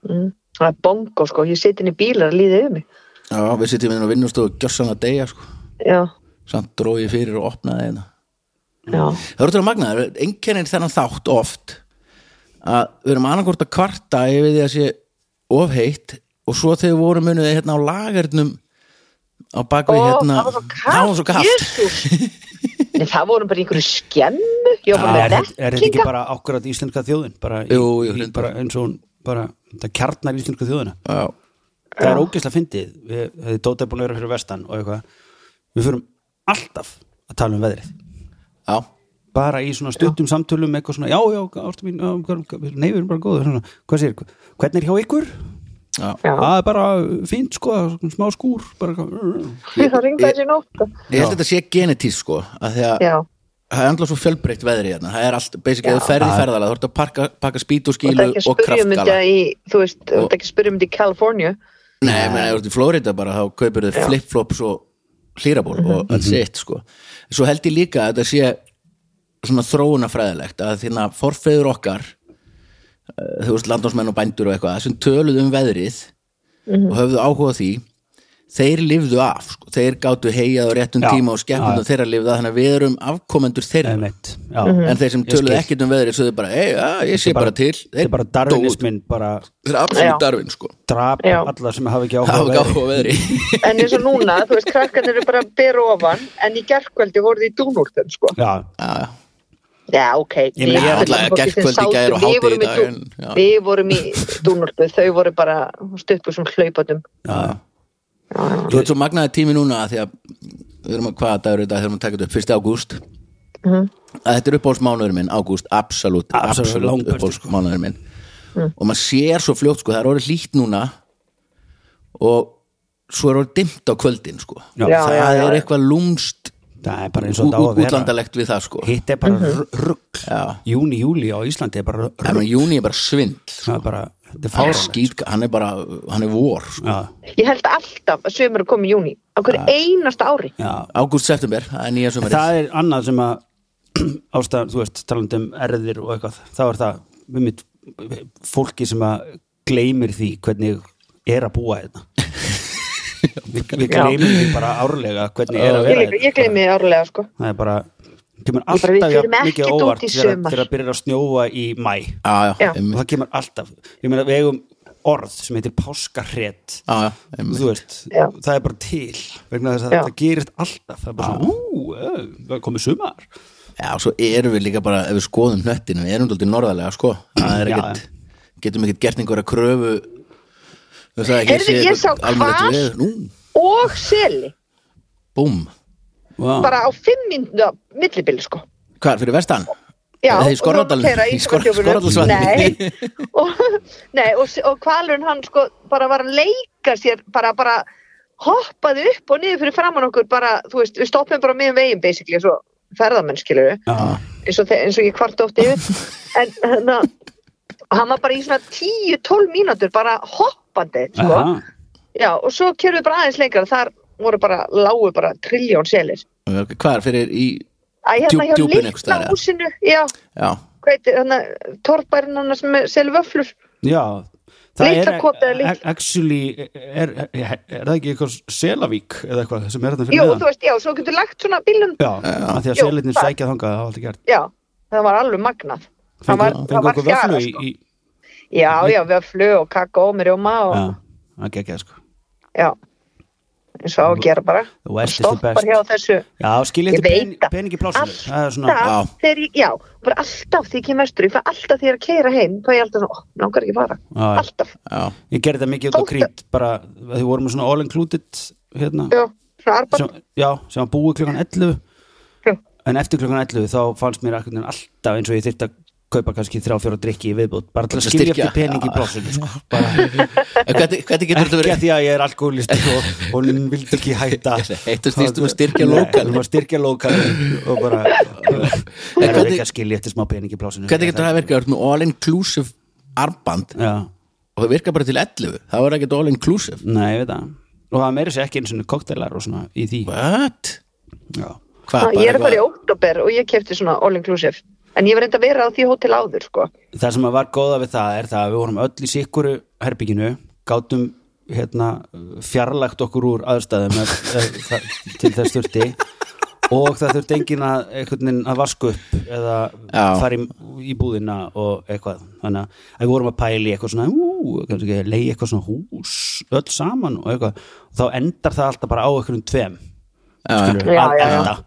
S4: Mm. Það er bongo sko, ég sit inn í bílar að líða yfir mig.
S2: já, við sittum inn á vinnustofu gjössan að deyja, sko
S4: Já,
S2: samt dróði fyrir og opnaði hérna
S4: já,
S2: Það eru til að magna, einkennir þennan þátt oft að við erum annarkvort að kvarta ef við því að sé of heitt og svo þegar við vorum munið hérna á lagarnum á bakvið
S4: Ó,
S2: hérna
S4: það var svo kalt,
S2: það var svo kalt. *laughs*
S4: en það voru bara í einhverju skemmu, ég var
S3: er,
S4: bara með
S3: þetta- er þetta ekki
S4: dekkinga.
S3: bara akkurat íslenska þjóðin bara, í,
S2: Jú, jú,
S3: í,
S2: reyndar.
S3: bara eins og hún bara, það kjarnar íslenska þjóðina
S2: Já,
S3: það er ógeðslega fyndið við hefði Dóta búin að vera fyrir vestan og eitthvað við fyrum alltaf að tala um veðrið
S2: já,
S3: bara í svona stuttum samtölum eitthvað svona, já, já, ástu mín já, hvað- hvað- nei, við erum bara góður, svona, hvað sér hvernig er hjá ykkur?
S2: já.
S4: Já, *laughs*
S3: Það er bara fínt, sko, svona smá skúr bara, eitthvað.
S4: það ringið þessi nótt. sko.
S2: Ég held að þetta sé genetís sko að því að
S4: Já,
S2: það er andla svo fjölbreytt veðri hérna það er allt, basic, eða ferði ferðalega þú ert að parka, pakka spýt og
S4: og það
S2: skílu
S4: er ekki að
S2: og
S4: spyrja um
S2: kraftgala
S4: þetta í, þú veist, það er ekki að spyrja um þetta í California.
S2: Nei, menn, ef þú ert í Florida bara, þá kaupir þið flip-flops og hlýraból
S3: Mhm.
S2: og that's it, sko. Svo held ég líka að þetta sé svona þróunafræðilegt að þína forfeður okkar eh, þú veist, landnámsmenn og bændur og eitthvað sem töluðu um veðrið
S3: Mhm.
S2: og höfðu áhuga á því þeir lifðu af, sko. þeir gátu heijað á réttum
S3: Já,
S2: tíma og skemmtum
S3: já,
S2: og þeirra lifðu af, þannig að við erum afkomendur þeirra
S3: einmitt, já
S2: en þeir sem
S3: Mhm. Ég skil.
S2: töluðu ekkert um veðrið svo þau bara, ei, ja, ég sé bara, til
S3: þetta er bara darwinismin, bara
S2: þeir er
S4: Já.
S2: absolutt darfin, sko
S3: drap
S4: Já.
S3: alla sem hafa ekki áhuga á
S2: hafa
S3: veðri.
S2: gáfa veðri
S3: *laughs*
S4: En eins og núna, þú veist, krakkarnir eru bara að bera ofan, en í gerkvöldi voru þið í dúnúrtun, sko.
S3: já,
S2: Já, já.
S4: Já, ok.
S3: Ég meina,
S4: Við-
S2: náttúrulega
S4: fólki sem
S2: gærkvöldi í
S4: sátu-
S2: gær og
S4: við
S2: hádegi í
S4: vorum
S2: dag,
S4: dú-
S2: en- já.
S4: Við vorum í dúnúrtu, þau voru bara stuppu sem hlaupatum.
S3: já,
S2: Þú ert svo magnaði tími núna af því að við erum að hvaða dagur er þetta þegar maður taka þetta upp, 1. ágúst
S4: Mhm.
S2: að þetta er uppáhaldsmánuður minn, ágúst absolutt,
S3: Absolutt, sko.
S2: absolutt
S3: langbesti,
S2: uppáhaldsmánuður minn
S4: Mhm.
S2: og maður sér svo fljótt sko, það er orðið hlýtt núna og svo er orðið dimmt á kvöldin sko,
S3: Já.
S4: Já,
S2: það
S4: já, já.
S2: er eitthvað lúmst
S3: það er bara eins og
S2: ú-
S3: þetta á
S2: ú-
S3: að vera
S2: útlandalegt við það sko
S3: hitt er bara rugg
S2: Já.
S3: júni, júli á Íslandi er bara
S2: en
S3: rugg,
S2: júni er bara svindl
S3: það er bara þetta er sko.
S2: hann er,
S3: fáránlegt.
S2: skít, hann er bara, hann er vor sko.
S3: já,
S4: Ég held alltaf að sömur er komið í júni, á
S3: Ah.
S4: hverju einasta ári.
S3: já,
S2: ágúst september, það er nýja sömur
S3: það er annað sem að *clears throat* ástæðan, þú veist, talandi um erðir og eitthvað, þá er það við mitt, fólki sem að gleymir því hvernig er að búa þetta við, við gleymir því bara árlega hvernig er að
S4: Ég,
S3: vera hérna.
S4: líka- ég gleymi þið árlega, sko.
S3: það er bara, kemur
S4: Ég bara, við
S3: alltaf
S4: förum
S3: jafn
S4: ekkert
S3: mikið
S4: út í
S3: óvart þegar
S4: sumar.
S3: þegar það byrjar að snjóa í mæ
S2: já, já,
S4: Já.
S2: einmitt.
S3: og það kemur alltaf, ég meina við eigum orð sem heitir páskarhrét
S2: já, já, einmitt.
S3: þú veist,
S4: Já.
S3: það er bara til vegna þess að
S4: Já.
S3: það gerist alltaf það er bara svona, ú, ö, það komið sumar
S2: Já, svo erum við líka bara, ef við skoðum hnöttinu, við erum daldið norðarlega, sko. Það er
S3: Já,
S2: ekkert, getum ekkert gert einhverja kröfu. Þú veist það ekki,
S4: Heyrðu, ég sá hval.
S2: við, nú,
S4: Og seli,
S2: búm.
S3: wow.
S4: bara á fimm mínútu millibili, sko.
S2: Hvað, fyrir vestan?
S4: Já,
S2: Eða í
S4: og við vorum að
S2: Skorradalnum?
S4: keyra
S2: Í Skor-
S4: Ísafjarðardjúpinu.
S2: Skorradalsvatni?
S4: Nei, og, nei og, og hvalurinn hann sko bara var að leika sér, bara, bara hoppaði upp og niður fyrir framann okkur bara, þú veist, við stoppum bara meðum veginn basically, eins og ferðamenn skilur við,
S3: Já.
S4: eins og, þe- eins og ég kvart ótti yfir,
S3: *laughs*
S4: en hann, hann var bara í svona 10-12 mínútur bara hoppandi, sko.
S3: Aha.
S4: Já, og svo kerfum við bara aðeins lengra, þar voru bara, lágu bara triljón selir.
S2: Hvað er fyrir í
S4: að hérna
S2: Djúp-
S4: hjá
S2: djúpin einhvers
S4: litla
S2: staðar, eða?
S4: húsinu já, hérna,
S2: já,
S4: hvað heitir, þannig að torfbærin hann sem selur vöflur
S3: Já, e-
S4: Litla kotið er litla.
S3: actually er, er, er, það ekki eitthvað selavík eða eitthvað sem er þetta fyrir
S4: jú,
S3: neðan?
S4: þú veist, já, svo getur lagt svona bílum
S3: Já, að því að
S4: Jú,
S3: selinir
S4: það-
S3: sækja þangað það var alltaf gert
S4: já, það var alveg magnað Það var-
S3: Fengu-
S4: það
S3: fengu
S4: var
S3: okkur
S4: fjara,
S3: vöflu í,
S4: sko.
S3: í
S4: já, já, vöflu og kakó með rjóma og
S3: Já, það gekkja sko
S4: já, eins og á að gera bara
S3: The West is the
S4: stoppar
S3: best
S4: hjá þessu
S3: Já, skilja
S4: Ég
S3: eftir pen,
S4: veit það.
S3: peningi plásinu Það er svona,
S2: Já.
S4: alltaf þegar ég, já, bara alltaf þegar ég kem vestur, ég fæ alltaf þegar ég er að keira heim þá er ég alltaf svona, ó, mig langar ekki að fara
S3: Já, já.
S4: alltaf,
S2: já,
S3: ég gerði það mikið út á
S4: Þótt-
S3: krít bara, að því vorum með svona all included hérna,
S4: já, svona arbar
S3: sem, já, sem var búið klukkan 11
S4: Já.
S3: en eftir klukkan 11 þá fannst mér akkurinn alltaf eins og ég þyrfti að kaupa kannski þrjá fjóra drikki í viðbútt bara til að
S2: Til að
S3: skilja
S2: styrkja.
S3: eftir peningi
S2: Já.
S3: plásinu sko. *laughs* bara
S2: En hvernig, hvernig *laughs* getur þetta
S3: ekki að
S2: verið
S3: því að ég er alkoholist og, og hún vildi ekki
S2: *laughs*
S3: hætta
S2: Þetta snýst um að styrkja
S3: Nei,
S2: lokal.
S3: um að styrkja lokal og bara það er
S2: hvernig-
S3: ekki að skilja eftir smá pening í plásinu
S2: hvernig getur það verið að verið all inclusive armband
S3: já,
S2: og það virkar bara til 11 það var ekkert all inclusive
S3: nei, ég veit það og það meiri sér ekki eins og kokteilar og svona í því
S2: what?
S3: já,
S2: Hvað,
S4: ég er að fara í
S2: eitthvað-
S4: óttóber og ég kefti svona all inclusive en ég var reynd að vera á því hótel áður sko.
S3: það sem að var góða við það er það að við vorum öll í sikkuru herbygginu gátum hérna, fjarlægt okkur úr aðstæðum ef, ef, það, til þess þurfti og það þurfti engin að, einhvern veginn að vaska upp eða
S2: Já.
S3: fara í, í búðina og eitthvað þannig að- að við vorum að pæli eitthvað svona ú, kannski leiði eitthvað svona hús öll saman og eitthvað og þá endar það alltaf bara á einhverjum tveim skilur,
S4: Já,
S3: að
S4: já, já.
S3: enda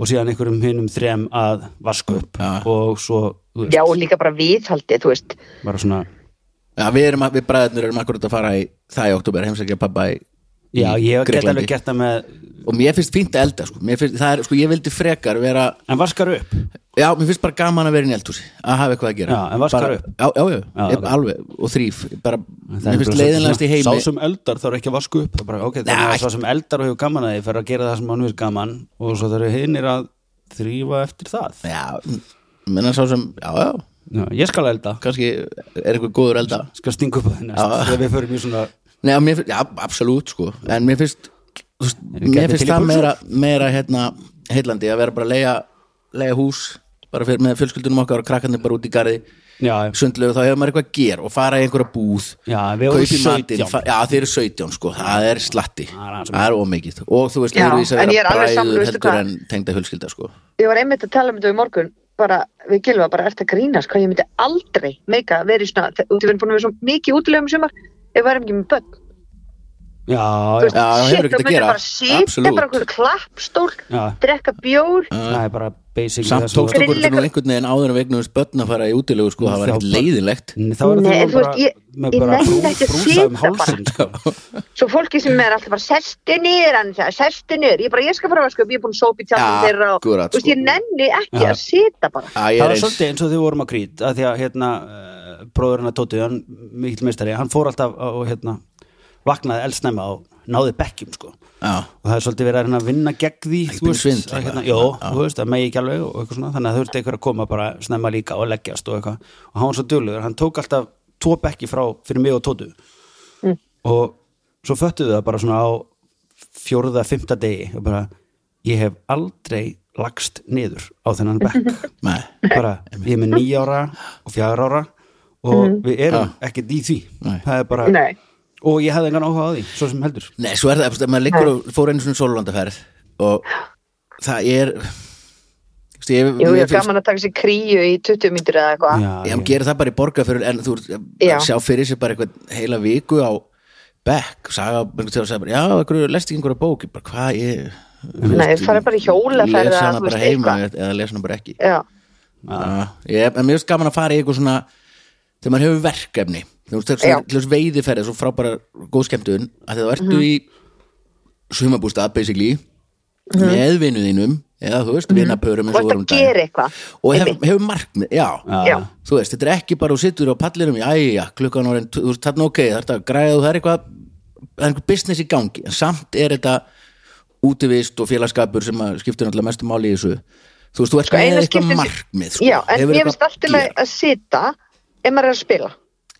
S3: og síðan einhverjum hinum þrem að vaska upp og svo þú veist,
S4: já, og líka bara viðhaldi, þú veist
S3: bara svona
S2: Já, við, erum, að- við bræðurnir erum akkurat að fara í það í oktober heimsækja pappa í
S3: Já,
S2: í
S3: ég get
S2: Grikklandi.
S3: alveg gert það með
S2: og mér finnst fínt að elda sko. Mér finnst, það er, sko, ég vildi frekar vera
S3: En vaskar upp
S2: já, mér finnst bara gaman að vera inn í eldhúsi að hafa eitthvað að gera
S3: Já, en vaskar
S2: bara,
S3: upp?
S2: já, já, já,
S3: Já,
S2: ég,
S3: ok.
S2: alveg, og þrýf bara,
S3: Það er
S2: mér finnst
S3: bara
S2: leiðinlegast
S3: svona-
S2: í heimi
S3: Sá sem eldar þarf ekki að vaska upp Það er bara, ok, þannig
S2: Nei.
S3: að sá sem eldar og hefur gaman að því fer að gera það sem hann er gaman og svo þarf hinnir að þrýfa eftir það
S2: já, menna sá sem já, já,
S3: Já, Ég skal elda,
S2: kannski er eitthvað góður að elda
S3: skal stinga upp að það næst
S2: Já.
S3: þegar við förum í svona
S2: Nei, mér finnst, já, absolutt sko en mér finnst, þú veist,
S3: ekki
S2: mér
S3: allir
S2: finnst
S3: til í
S2: það
S3: buxur?
S2: meira, meira hérna, heillandi að vera bara að leia, leia hús bara fyrir, með fjölskyldunum okkar og krakkarnir bara út í garði
S3: Já,
S2: sundlegu, þá hefur maður eitthvað að gera og fara í einhverja búð
S3: Já, við vorum
S2: kaupa í
S3: 17.
S2: fa- já, þeir eru 17 sko, það er slatti
S3: Það er aðeins
S2: það er ómikið og þú veist,
S4: Já,
S2: þeir eru í þess
S4: en
S2: að
S4: ég
S2: vera
S4: er alveg sammála,
S2: bræður
S4: veistu
S2: heldur
S4: hvað?
S2: en tengda fjölskylda sko
S4: ég var einmitt að tala um þetta í morgun bara, við gilfa bara ert að grínast hvað ég myndi aldrei meika að vera í svona þegar við erum búin að vera svo mikið útilegum í sumar ef við erum ekki með börn
S3: já,
S4: Þú
S3: já,
S4: veist,
S2: Já, það hefur
S4: shit,
S2: ekkert
S4: þá
S2: að
S4: myndi
S2: gera.
S4: bara sýta
S2: Absolutt.
S4: bara okkur klappstól,
S3: já
S4: drekka bjór
S3: Það er bara basic
S2: samt tókst okkur
S4: Grilla-
S2: nú einhvern veginn áður en vegnuðist börn að fara í útilegu sko, það var
S3: Já,
S2: ekkert
S3: bara-
S2: leiðilegt
S3: Það var
S4: Nei, en
S3: það
S4: þú
S3: bara
S4: veist, ég-
S3: með
S4: ég
S3: bara
S4: nenni
S3: brú-
S4: ekki að
S3: brúsa um
S4: sita bara.
S3: hálsinn sko.
S4: svo fólki sem er alltaf bara sestu niður hann sagði, sestu niður, ég bara ég skal fara að vaska upp, ég er búin að sópa í tjaldum
S2: Ja,
S4: þeirra og,
S2: akkurat,
S4: þú veist, ég
S2: sko.
S4: nenni ekki
S3: Ja.
S4: að sita bara
S2: Æ,
S3: það
S2: ég er
S3: var
S2: eins
S3: svolítið eins og þau vorum á krít að því að hérna eh, bróðurinn að Tóti, hann mikil meistari hann fór alltaf á- og hérna vaknaði eldsnæma og náði bekkjum sko
S2: já
S3: og það er svolítið verið að reyna að vinna gegn því
S2: Ekki pínu svindl,
S3: að, hérna,
S2: eitthvað.
S3: jó,
S2: Já.
S3: þú veist, það megi ekki alveg og eitthvað svona, þannig að þú veist eitthvað að koma bara snemma líka og leggjast og eitthvað og hann var svo duglegur, hann tók alltaf tvo bekki frá fyrir mig og Tótu og svo föttuðu það bara svona á fjórða, fymta degi og bara, ég hef aldrei lagst niður á þennan bekk
S2: Nei.
S3: bara, ég er með nýja ára og fjara ára og við erum ekkert í því
S2: Ah. Nei.
S3: það er bara,
S4: Mhm. Nei.
S3: og ég hefði engan áhuga á því svo sem heldur
S2: Nei, svo er það, eftir, maður liggur og fór einu svona sólulandaferð og það er Þú veist, ég,
S4: Jú, ég
S2: mér
S4: er gaman að taka sér kríu í 20 mínútur eða eitthvað
S3: Já,
S2: ég gera það bara í borga fyrir en þú
S4: Já.
S2: sjá fyrir sér bara eitthvað heila viku á bekk, saga, einhvern tíðan sagði bara, já, einhverju, lest ekki einhverja bók, ég bara, hvað ég
S4: Nei, farið bara í hjólaferð
S2: lesa
S4: eða,
S2: hana
S4: þú
S2: bara
S4: veist,
S2: heima
S4: eitthvað.
S2: eða lesa hana bara ekki
S4: Já.
S2: Já, Ah, ég, en mér finnst gaman að fara í eitthvað svona þegar maður hefur verkefni þú veist,
S4: Já. Mhm.
S2: þegar þess veiðiferði, svo frábæra góðskemmtun að þegar þú ertu í sumabústað, basically
S4: Mhm.
S2: með vinnu þínum eða þú veist, mm -hmm. vinapörum eins
S4: og
S2: og
S4: þetta
S2: vorum
S4: gerir
S2: daginn.
S4: eitthvað
S2: og hef, hefur markmið, já,
S4: Já.
S2: þú veist, þetta er ekki bara og sittur á pallinum, jæja, klukkan orðin þú veist, þarna ok, það er að græða þú það er eitthvað það er einhver business í gangi, en samt er þetta útivist og félagskapur sem að skiptir náttúrulega mestu máli í þessu þú veist, þú ert
S4: Sko,
S2: með
S4: eina
S2: eitthvað
S4: skipti-
S2: markmið sko.
S4: Já, en
S2: Hefur
S4: ég
S2: eitthvað
S4: finnst allt í
S2: að
S4: lagi
S2: gera.
S4: að sita ef maður er að spila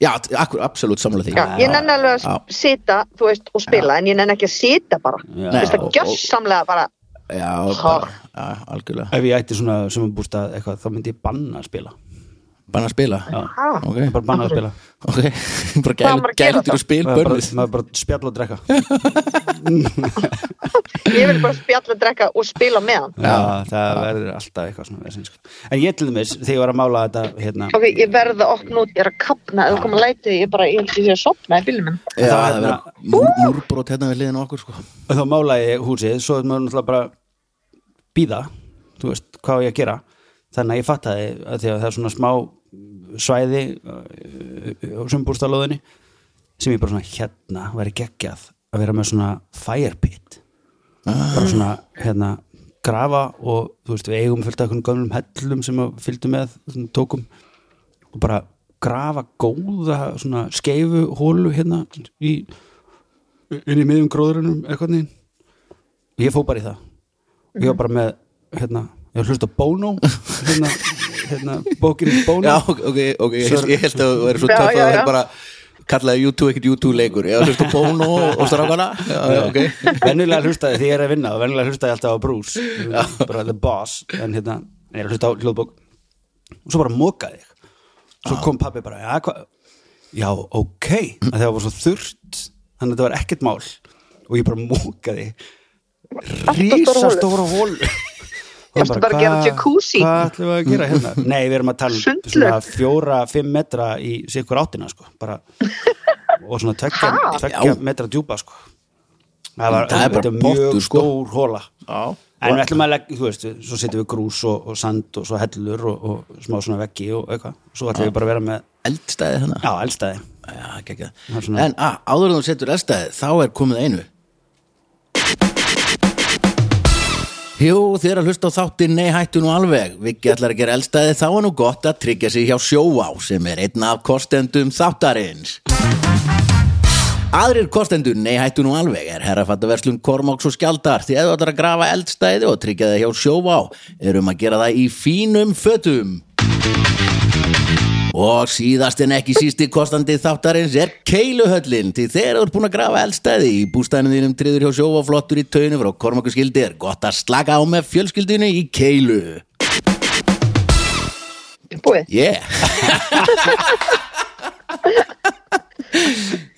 S2: Já, akkur, absolutt samlega því
S4: Já, ég nenni alveg að
S2: Já.
S4: sita, þú veist, og spila en ég nenni ekki að sita bara,
S3: Já.
S4: þú veist,
S2: Nei,
S4: að
S2: og-
S4: gjössamlega bara
S2: já, bara, já, algjörlega
S3: ef ég ætti svona sumabústað eitthvað þá myndi ég banna að spila
S2: Banna að spila
S3: Já.
S4: Ha?
S2: Ok,
S3: bara banna að spila
S2: ok *laughs* Bara
S4: Hvað á
S2: gæl-
S4: maður að gera
S2: gældur
S4: þá?
S2: og spil
S3: maður bara,
S2: börnið
S3: maður bara spjall og drekka
S4: Ég vil bara spjalla, drekka og spila með hann.
S3: já, það
S2: Ah.
S3: verður alltaf eitthvað svona vesen, sko. en ég til dæmis, þegar ég var að mála þetta hérna,
S4: Ok, ég verða að opna út, ég er að kapna, ef þú kom að læti, ég bara, ég held ég sé að sopna í bílum minn.
S2: Já,
S3: það
S2: það
S3: hérna-
S2: verður múrbrót hérna við liðin á okkur sko
S3: og þá málaði ég húsið svo er maður náttúrulega bara býða, þú veist, hvað á ég að gera þannig að ég fattaði að því að það er svona smá svæði uh, á sumbúrstalóðinni sem ég bara svona hérna væri geggjað að vera með svona fire pit bara svona hérna grafa og þú veist við eigum fullt af einhvern gömlum hellum sem að fylgdu með svona, tókum og bara grafa góða svona skeifu hólu hérna í inn í miðjum gróðurinnum eitthvað neginn og ég fó bara í það og ég var bara með hérna, ég var hlust á Bono hérna, hérna bókirinn Bono
S2: Já, ok, ok, ok, ég,
S3: Svo-
S2: ég held að það verður svo
S4: Já,
S2: töff að
S4: já,
S2: það er
S4: já.
S2: bara kallaði U2 ekkert U2 leikur Já, hlustu Bono og strákana Já, já, ok
S3: venjulega hlustaði því ég er að vinna og venjulega hlustaði ég alltaf á Bruce bara the boss en hérna, ég er að hlusta á hljóðbók og svo bara mokaði ég svo kom pappi bara, já, hva? já ok að það var svo þurrt þannig að þetta var ekkert mál og ég bara mokaði
S4: stóra
S3: risastóra hól
S4: Ég ætla bara að gera jacuzzi.
S3: hvað ætlum við að gera hérna?
S4: *laughs*
S3: Nei, við erum að tala um
S4: Sundlaug.
S3: svona fjóra, fimm metra í sikkur áttina sko, bara
S4: *laughs*
S3: og svona tvekja,
S4: Ha?
S3: tvekja
S2: Já.
S3: metra djúpa sko. það var
S2: Það er bara
S3: þetta mjög
S2: pottur, sko.
S3: stór hóla
S2: Já.
S3: en við ætlum að leggja, þú veist, svo setjum við grús og, og sand og svo hellur og, og smá svona veggi og eitthvað, svo ætlum við bara að vera með
S2: Eldstæði þannig
S3: já, elstaði
S2: Já, gekkja
S3: Það er svona-
S2: En á, áður en þú setur eldstæði, þá er komið einu Jú, þið er að hlusta á þáttin Nei, hættu nú alveg Viki ætlar að gera eldstæði, þá er nú gott að tryggja sig hjá Sjóvá sem er einn af kostendum þáttarins Aðrir kostendur, nei hættu nú alveg, er herrafattaverslun Kormáks og Skjaldar því að þú ætlar að grafa eldstæði og tryggja það hjá Sjóvá erum að gera það í fínum fötum. Og síðast en ekki sísti kostandi þáttarins er keiluhöllin því þegar þú ert búin að grafa eldstæði í bústæðinu þínum triður hjá sjófa flottur í taunum frá kormakuskildi er gott að slaka á með fjölskyldinu í keilu
S3: *laughs*
S4: Búið.
S2: Yeah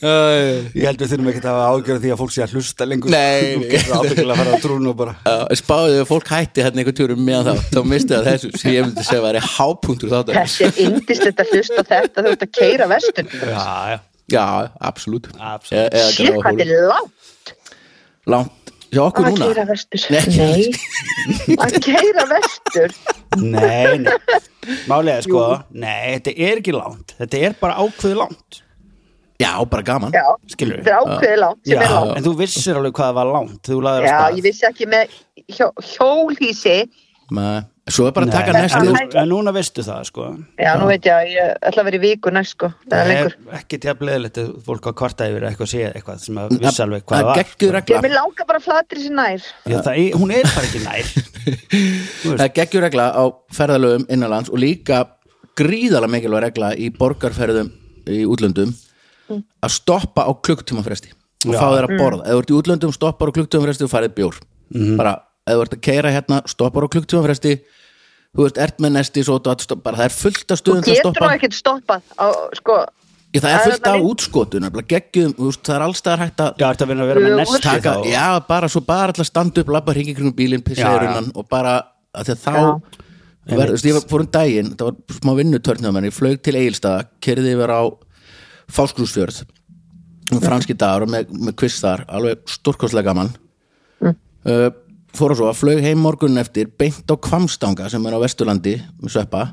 S2: uh,
S3: ég held við þurfum ekki að hafa ágjörð því að fólk sé að hlusta lengur
S2: Nei, nei.
S3: Þú getur ábyggilega að fara að trúna og bara
S2: Spáðu ef fólk hætti hérna einhvern tjórum meðan þá þá misti það þessu sem ég myndi segja að væri hápunktur þáttarins
S4: Þetta er indislegt að hlusta á þetta, þú ert að keira vestun.
S3: já, já,
S2: Já, absolutt
S3: Absolutt.
S4: Sér hvað þetta er langt
S2: Langt hjá okkur
S4: að
S2: núna
S4: keira vestur.
S2: Nei.
S4: Nei, að keira vestur.
S3: nei, nei málega sko, nei, þetta er ekki langt þetta er bara ákveðu langt
S2: Já, bara gaman
S4: Já,
S3: Skilurðu?
S4: þetta er ákveðið langt
S3: já,
S4: sem er langt.
S3: en þú vissir alveg hvað það var langt þú laður
S4: Já,
S3: að
S4: ég vissi ekki með hjó, hjólhísi
S2: Nei. Svo er bara að taka
S3: Nei,
S2: næstu
S3: en nú- en núna veistu það sko
S4: Já, nú veit ég að ég ætla að vera í viku næst sko Það er lengur
S3: ekki til að bleðilegt að fólk að kvarta yfir að eitthvað sé eitthvað sem að vissi alveg hvað það
S2: það
S3: var
S2: geggjuð
S4: Ég
S2: regla
S4: mér langar bara flatri sér nær
S3: Já, það, er- hún er bara ekki nær
S2: það geggjur regla á ferðalöfum innanlands og líka gríðalega mikilvæg regla í borgarferðum í útlöndum
S4: Mm.
S2: að stoppa á klukktíma fresti og
S3: Já.
S2: fá þeir að borða, ef þú ert í útlöndum stoppar á klukktíma fresti og farið bjór
S3: Mhm.
S2: bara, ef þú ert að keira hérna, stoppar á klukktíma fresti þú veist, ert með nesti svo, bara, það er fullt af
S4: Þú
S2: stuðum til að
S4: getur nú
S2: stoppa
S4: ekkert stoppað á, sko,
S2: Ég, það er
S4: Það er
S2: fullt af
S4: þarna-
S2: útskotunum, bara geggjum, þú veist, það er allstaðar hægt að
S3: *laughs* Já, ertu að vinna að vera með
S4: Jú,
S3: nesti
S2: taka,
S3: þá
S2: já, bara svo bara alltaf standa upp, labba hringi kringum bílinn, pissa
S3: Já, já.
S2: í runnan og bara, að því að þá
S4: Já.
S2: Ég verð, þú veist, ég var- fór um daginn, það var smá vinnutörnum menn, ég flög til Egilstaða, kerði yfir á Fáskrúsfjörð um franski dagar og með, með quiz þar alveg stórkostlega gaman
S4: Mm.
S2: uh, fór að svo að flög heim morgun eftir beint á Kvamstanga sem er á Vesturlandi með sveppa og
S4: Mm.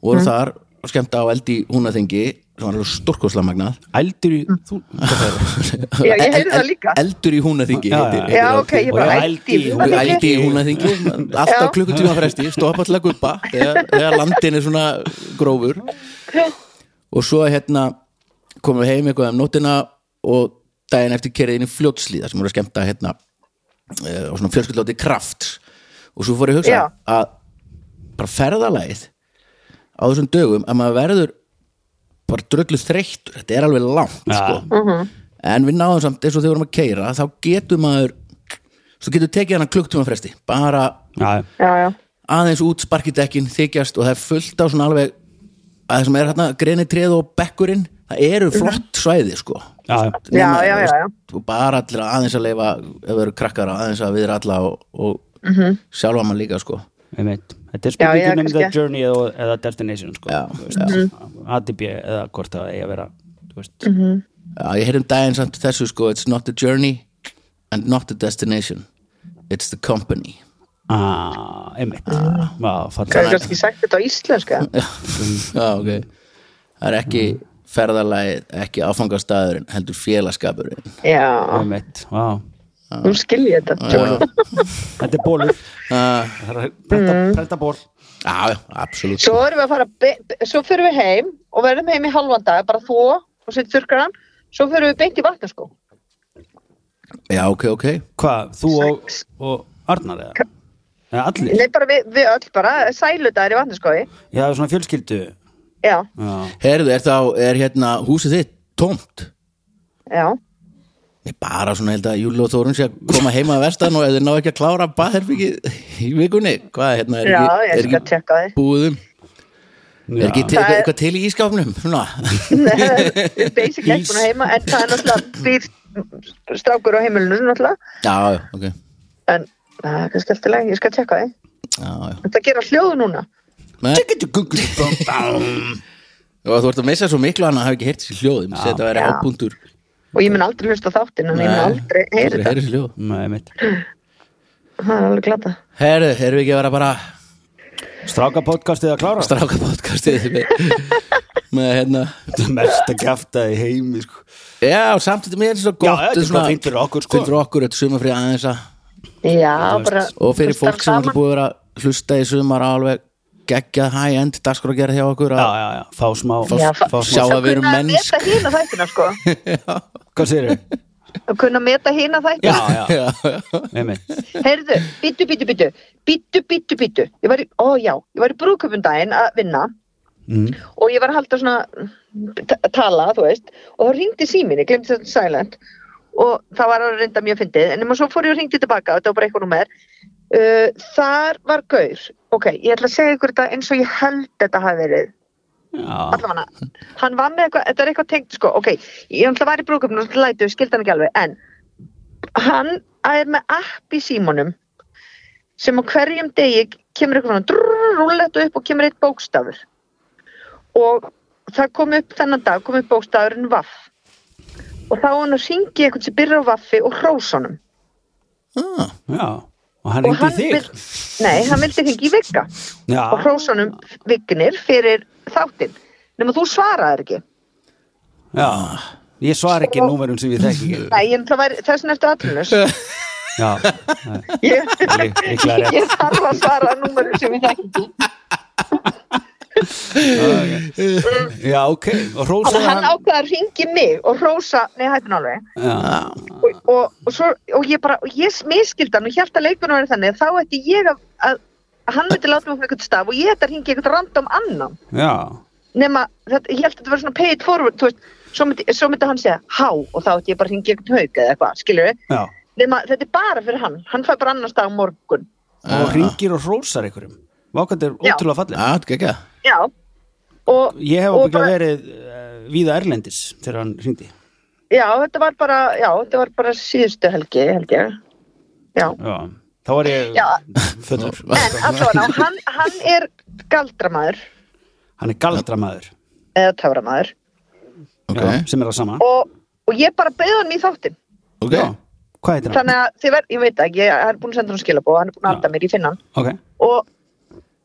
S2: voru þar og skemmta á eldi húnaþingi sem var alveg stórkostlega magnað
S3: Ældur í þú,
S4: Mm.
S3: hvað það er?
S4: Já,
S2: *laughs*
S4: ég heyrði það líka.
S2: eldur í húnaþingi
S3: Já, já.
S2: heitir- heitir
S4: já,
S2: það.
S4: ok, ég
S3: Og
S4: bara
S3: ég
S4: ældi
S3: ældi í-
S4: í
S2: Og
S3: Það
S2: ég
S3: er
S2: ældi
S4: húnaþingi.
S2: í húnaþingi alltaf
S4: Já.
S2: klukkutíma fresti, stoppa til að guppa þegar, þegar landin er svona grófur og svo hérna komum við heim eitthvað um nótina og daginn eftir kerið inn í fljótslíða sem voru að skemmta hérna eh, og svona fjölskyldláti kraft og svo fór ég að hugsa
S4: Já.
S2: að bara ferðalagið á þessum dögum að maður verður bara dröllu þreyttur, þetta er alveg langt
S3: Já.
S2: sko. en við náðum samt eins og þegar við vorum að keira þá getur maður svo getur tekið hana klukktíma fresti bara
S3: já,
S4: já, já,
S2: aðeins út sparkidekkin þykjast og það er fullt á svona alveg að það sem er hérna grenitreð og bekkurinn það eru flott svæði sko
S3: já,
S2: Nema,
S4: já, já,
S2: veist,
S4: já, já.
S2: og bara allir að aðeins að leifa ef það eru krakkar að aðeins að við alla og, og sjálfa mann líka sko
S3: einmitt þetta er
S4: Já, ég er
S3: spurningin um the
S4: kannski- Mm.
S3: journey eða, eða destination sko.
S2: Já,
S3: Þú veist, ATB eða hvort það eigi að vera þú veist,
S4: Mhm.
S2: Já, Uh, ég heyrðum daginn samt þessu sko It's not the journey and not the destination It's the company
S3: að, Ah, einmitt Vá,
S4: það er
S3: fallegt.
S4: Ah. kannski sagt þetta á íslensku eða?
S2: Já, Ah, ok Það er ekki ferðalagið, ekki áfangastæðurinn heldur félagskapurinn
S4: já,
S3: einmitt, vá
S4: nú skil ég þetta
S2: Já,
S3: þetta er bólur
S2: já,
S3: Það er að prenta,
S4: Mm.
S3: prenta ból
S2: Ah, já, absolutt
S4: svo erum við að fara be- be- svo fyrir við heim og verðum heim í halvan dag bara þó og sitt þurrkaran svo fyrir við beint í vatnaskó
S2: Já, ok, ok
S3: hvað, þú og, og Arnar eða? eða allir,
S4: Nei, bara við, við öll bara, sæludagur í vatnaskói
S3: ég hafði svona fjölskyldu
S4: Já,
S3: já,
S2: Heyrðu, er þá, er hérna húsið þitt tómt?
S4: já
S2: Nei, bara svona held að Júli og Þórun sé að koma heima að vestan og ef þið ná ekki að klára baðherbyggið í vikunni Hvað, hérna, er
S4: Já,
S2: ekki,
S4: ég
S2: er
S4: skal
S2: ekki
S4: tjekka því
S2: búðum? Er
S3: Já.
S2: ekki til,
S4: Það er-
S2: eitthvað til í ískápnum? *laughs* Svona
S4: Við erum basic
S3: Ís.
S4: ekki búin að heima en það er náttúrulega býr strákur á heimilinu náttúrulega
S2: Já, já, ok
S4: en það er kannski alltaf lengi, ég skal tjekka því
S2: Já, já
S4: Þetta gera hljóð núna
S2: Men... Og þú ert að missa svo miklu að hann hafi ekki heyrt sér hljóð Ég Þetta væri
S4: Já.
S2: ábúndur
S4: og ég mun aldrei hlusta á þáttinn en ég mun aldrei heyri þetta,
S2: heyri sér hljóð
S3: Nei, einmitt
S4: það er alveg glata
S2: Herðu, erum við ekki að vera bara
S3: stráka podcastið að klára
S2: stráka podcastið með,
S4: *laughs*
S2: með hérna
S3: Þetta er mest að kæfta í heimi sko.
S2: Já, samt þetta mér er svo
S3: Já,
S2: gott
S3: þetta er bara fínt fyrir okkur, sko.
S2: Fyrir okkur, þetta sumafrið aðeins að
S4: Já, bara
S2: Og fyrir
S4: hlusta
S2: fólk sem er
S4: saman.
S2: búið að vera að hlusta í sumar á alveg geggjað high-end dagskrákjara hjá okkur
S3: já,
S2: að
S3: já, já, fá smá
S4: Já,
S3: fá,
S4: fá-
S3: smá,
S2: sjá að við erum
S4: kunna
S2: mennsk
S4: meta hína þættina
S2: *laughs*
S4: sko
S3: hvað sér þið?
S4: að kunna meta hína
S3: já,
S4: þættina
S3: já,
S2: *laughs* Já, já.
S3: einmitt
S4: Heyrðu, býttu, býttu, býttu býttu, býttu, býttu ég var í, ó já, ég var í brúðköpundaginn að vinna
S3: mm.
S4: og ég var að halda svona t- tala, þú veist og þá ringdi símin, ég glemdi þetta silent og það var að reynda mjög fyndið en nema svo fór ég og ringdi tilbaka, þetta var bara eitthvað númer uh, þar var gaur ok, ég ætla að segja ykkur þetta eins og ég held þetta hafi verið
S3: já,
S4: allavega, hann var með eitthvað, þetta er eitthvað tengt sko, ok, ég ætla var í brúðköpunum og lætu, skildi hann ekki alveg, en hann er með app í símanum sem á hverjum degi kemur eitthvað svona drrrr, rúllett upp og kemur eitt bókstafur og það kom upp þennan dag, kom upp bókstafurinn vaff og þá á hann að ringi eitthvað sem byrja á vaffi og hrósunum
S2: Ah,
S3: já og hann ringdi í þig
S4: nei, hann vildi hringi í vikka
S3: já,
S4: og hrósunum vignir fyrir þáttinn, nema þú svaraðir ekki
S3: já, ég svar ekki númerum sem ég þekki ekki.
S4: Nei, ég náttúrulega væri þessin eftir atvinnus
S3: *laughs* já,
S4: ég,
S3: lí- líklega
S4: *laughs*
S3: rétt.
S4: ég þarf að svara númurum sem ég þekki ekki.
S3: já, ok og
S4: Þannig
S3: hrósaði
S4: að hann
S3: hann
S4: ákveða að ringi mig og hrósa, nei hættu nálega
S3: já,
S4: og, og, og, svo, og ég bara, og ég miskildi hann og hjælt að leikunum verið þannig að þá ætti ég að, að að hann myndi láta mig um eitthvað staf og ég ætti að ringi eitthvað random annan
S3: já,
S4: nema, þetta, ég held að þetta var svona pay it forward, þú veist, svo myndi, svo myndi hann segja há og þá ætti ég bara að ringi eitthvað haug eða eitthvað, skilur við,
S3: já
S4: nema þetta er bara fyrir hann, hann fær bara annars dag á morgun
S3: og ringir og hrósar ykkurum vákandi er
S4: Já.
S3: ótrúlega fallið
S2: já, geggjað
S4: Já, og
S3: ég hef
S4: og
S3: ábygglega
S4: bara-
S3: verið uh, víða Erlendis þegar hann ringdi
S4: Já, þetta var bara, já, þetta var bara síðustu helgi, held ég. Já,
S3: já, þá var ég
S4: Já.
S3: fötur *laughs*
S4: en allavega, hann, hann er galdramaður,
S3: hann er galdramæður
S4: eða töframaður,
S2: Ok,
S3: sem er að sama
S4: og, og ég bara beði hann í þáttinn.
S2: ok
S3: Já. hvað heitir hann?
S4: Þannig að þið verð, ég veit ekki, ég er búin að senda hann skilabóð, hann er búin að halda mér í finnan
S3: ok,
S4: og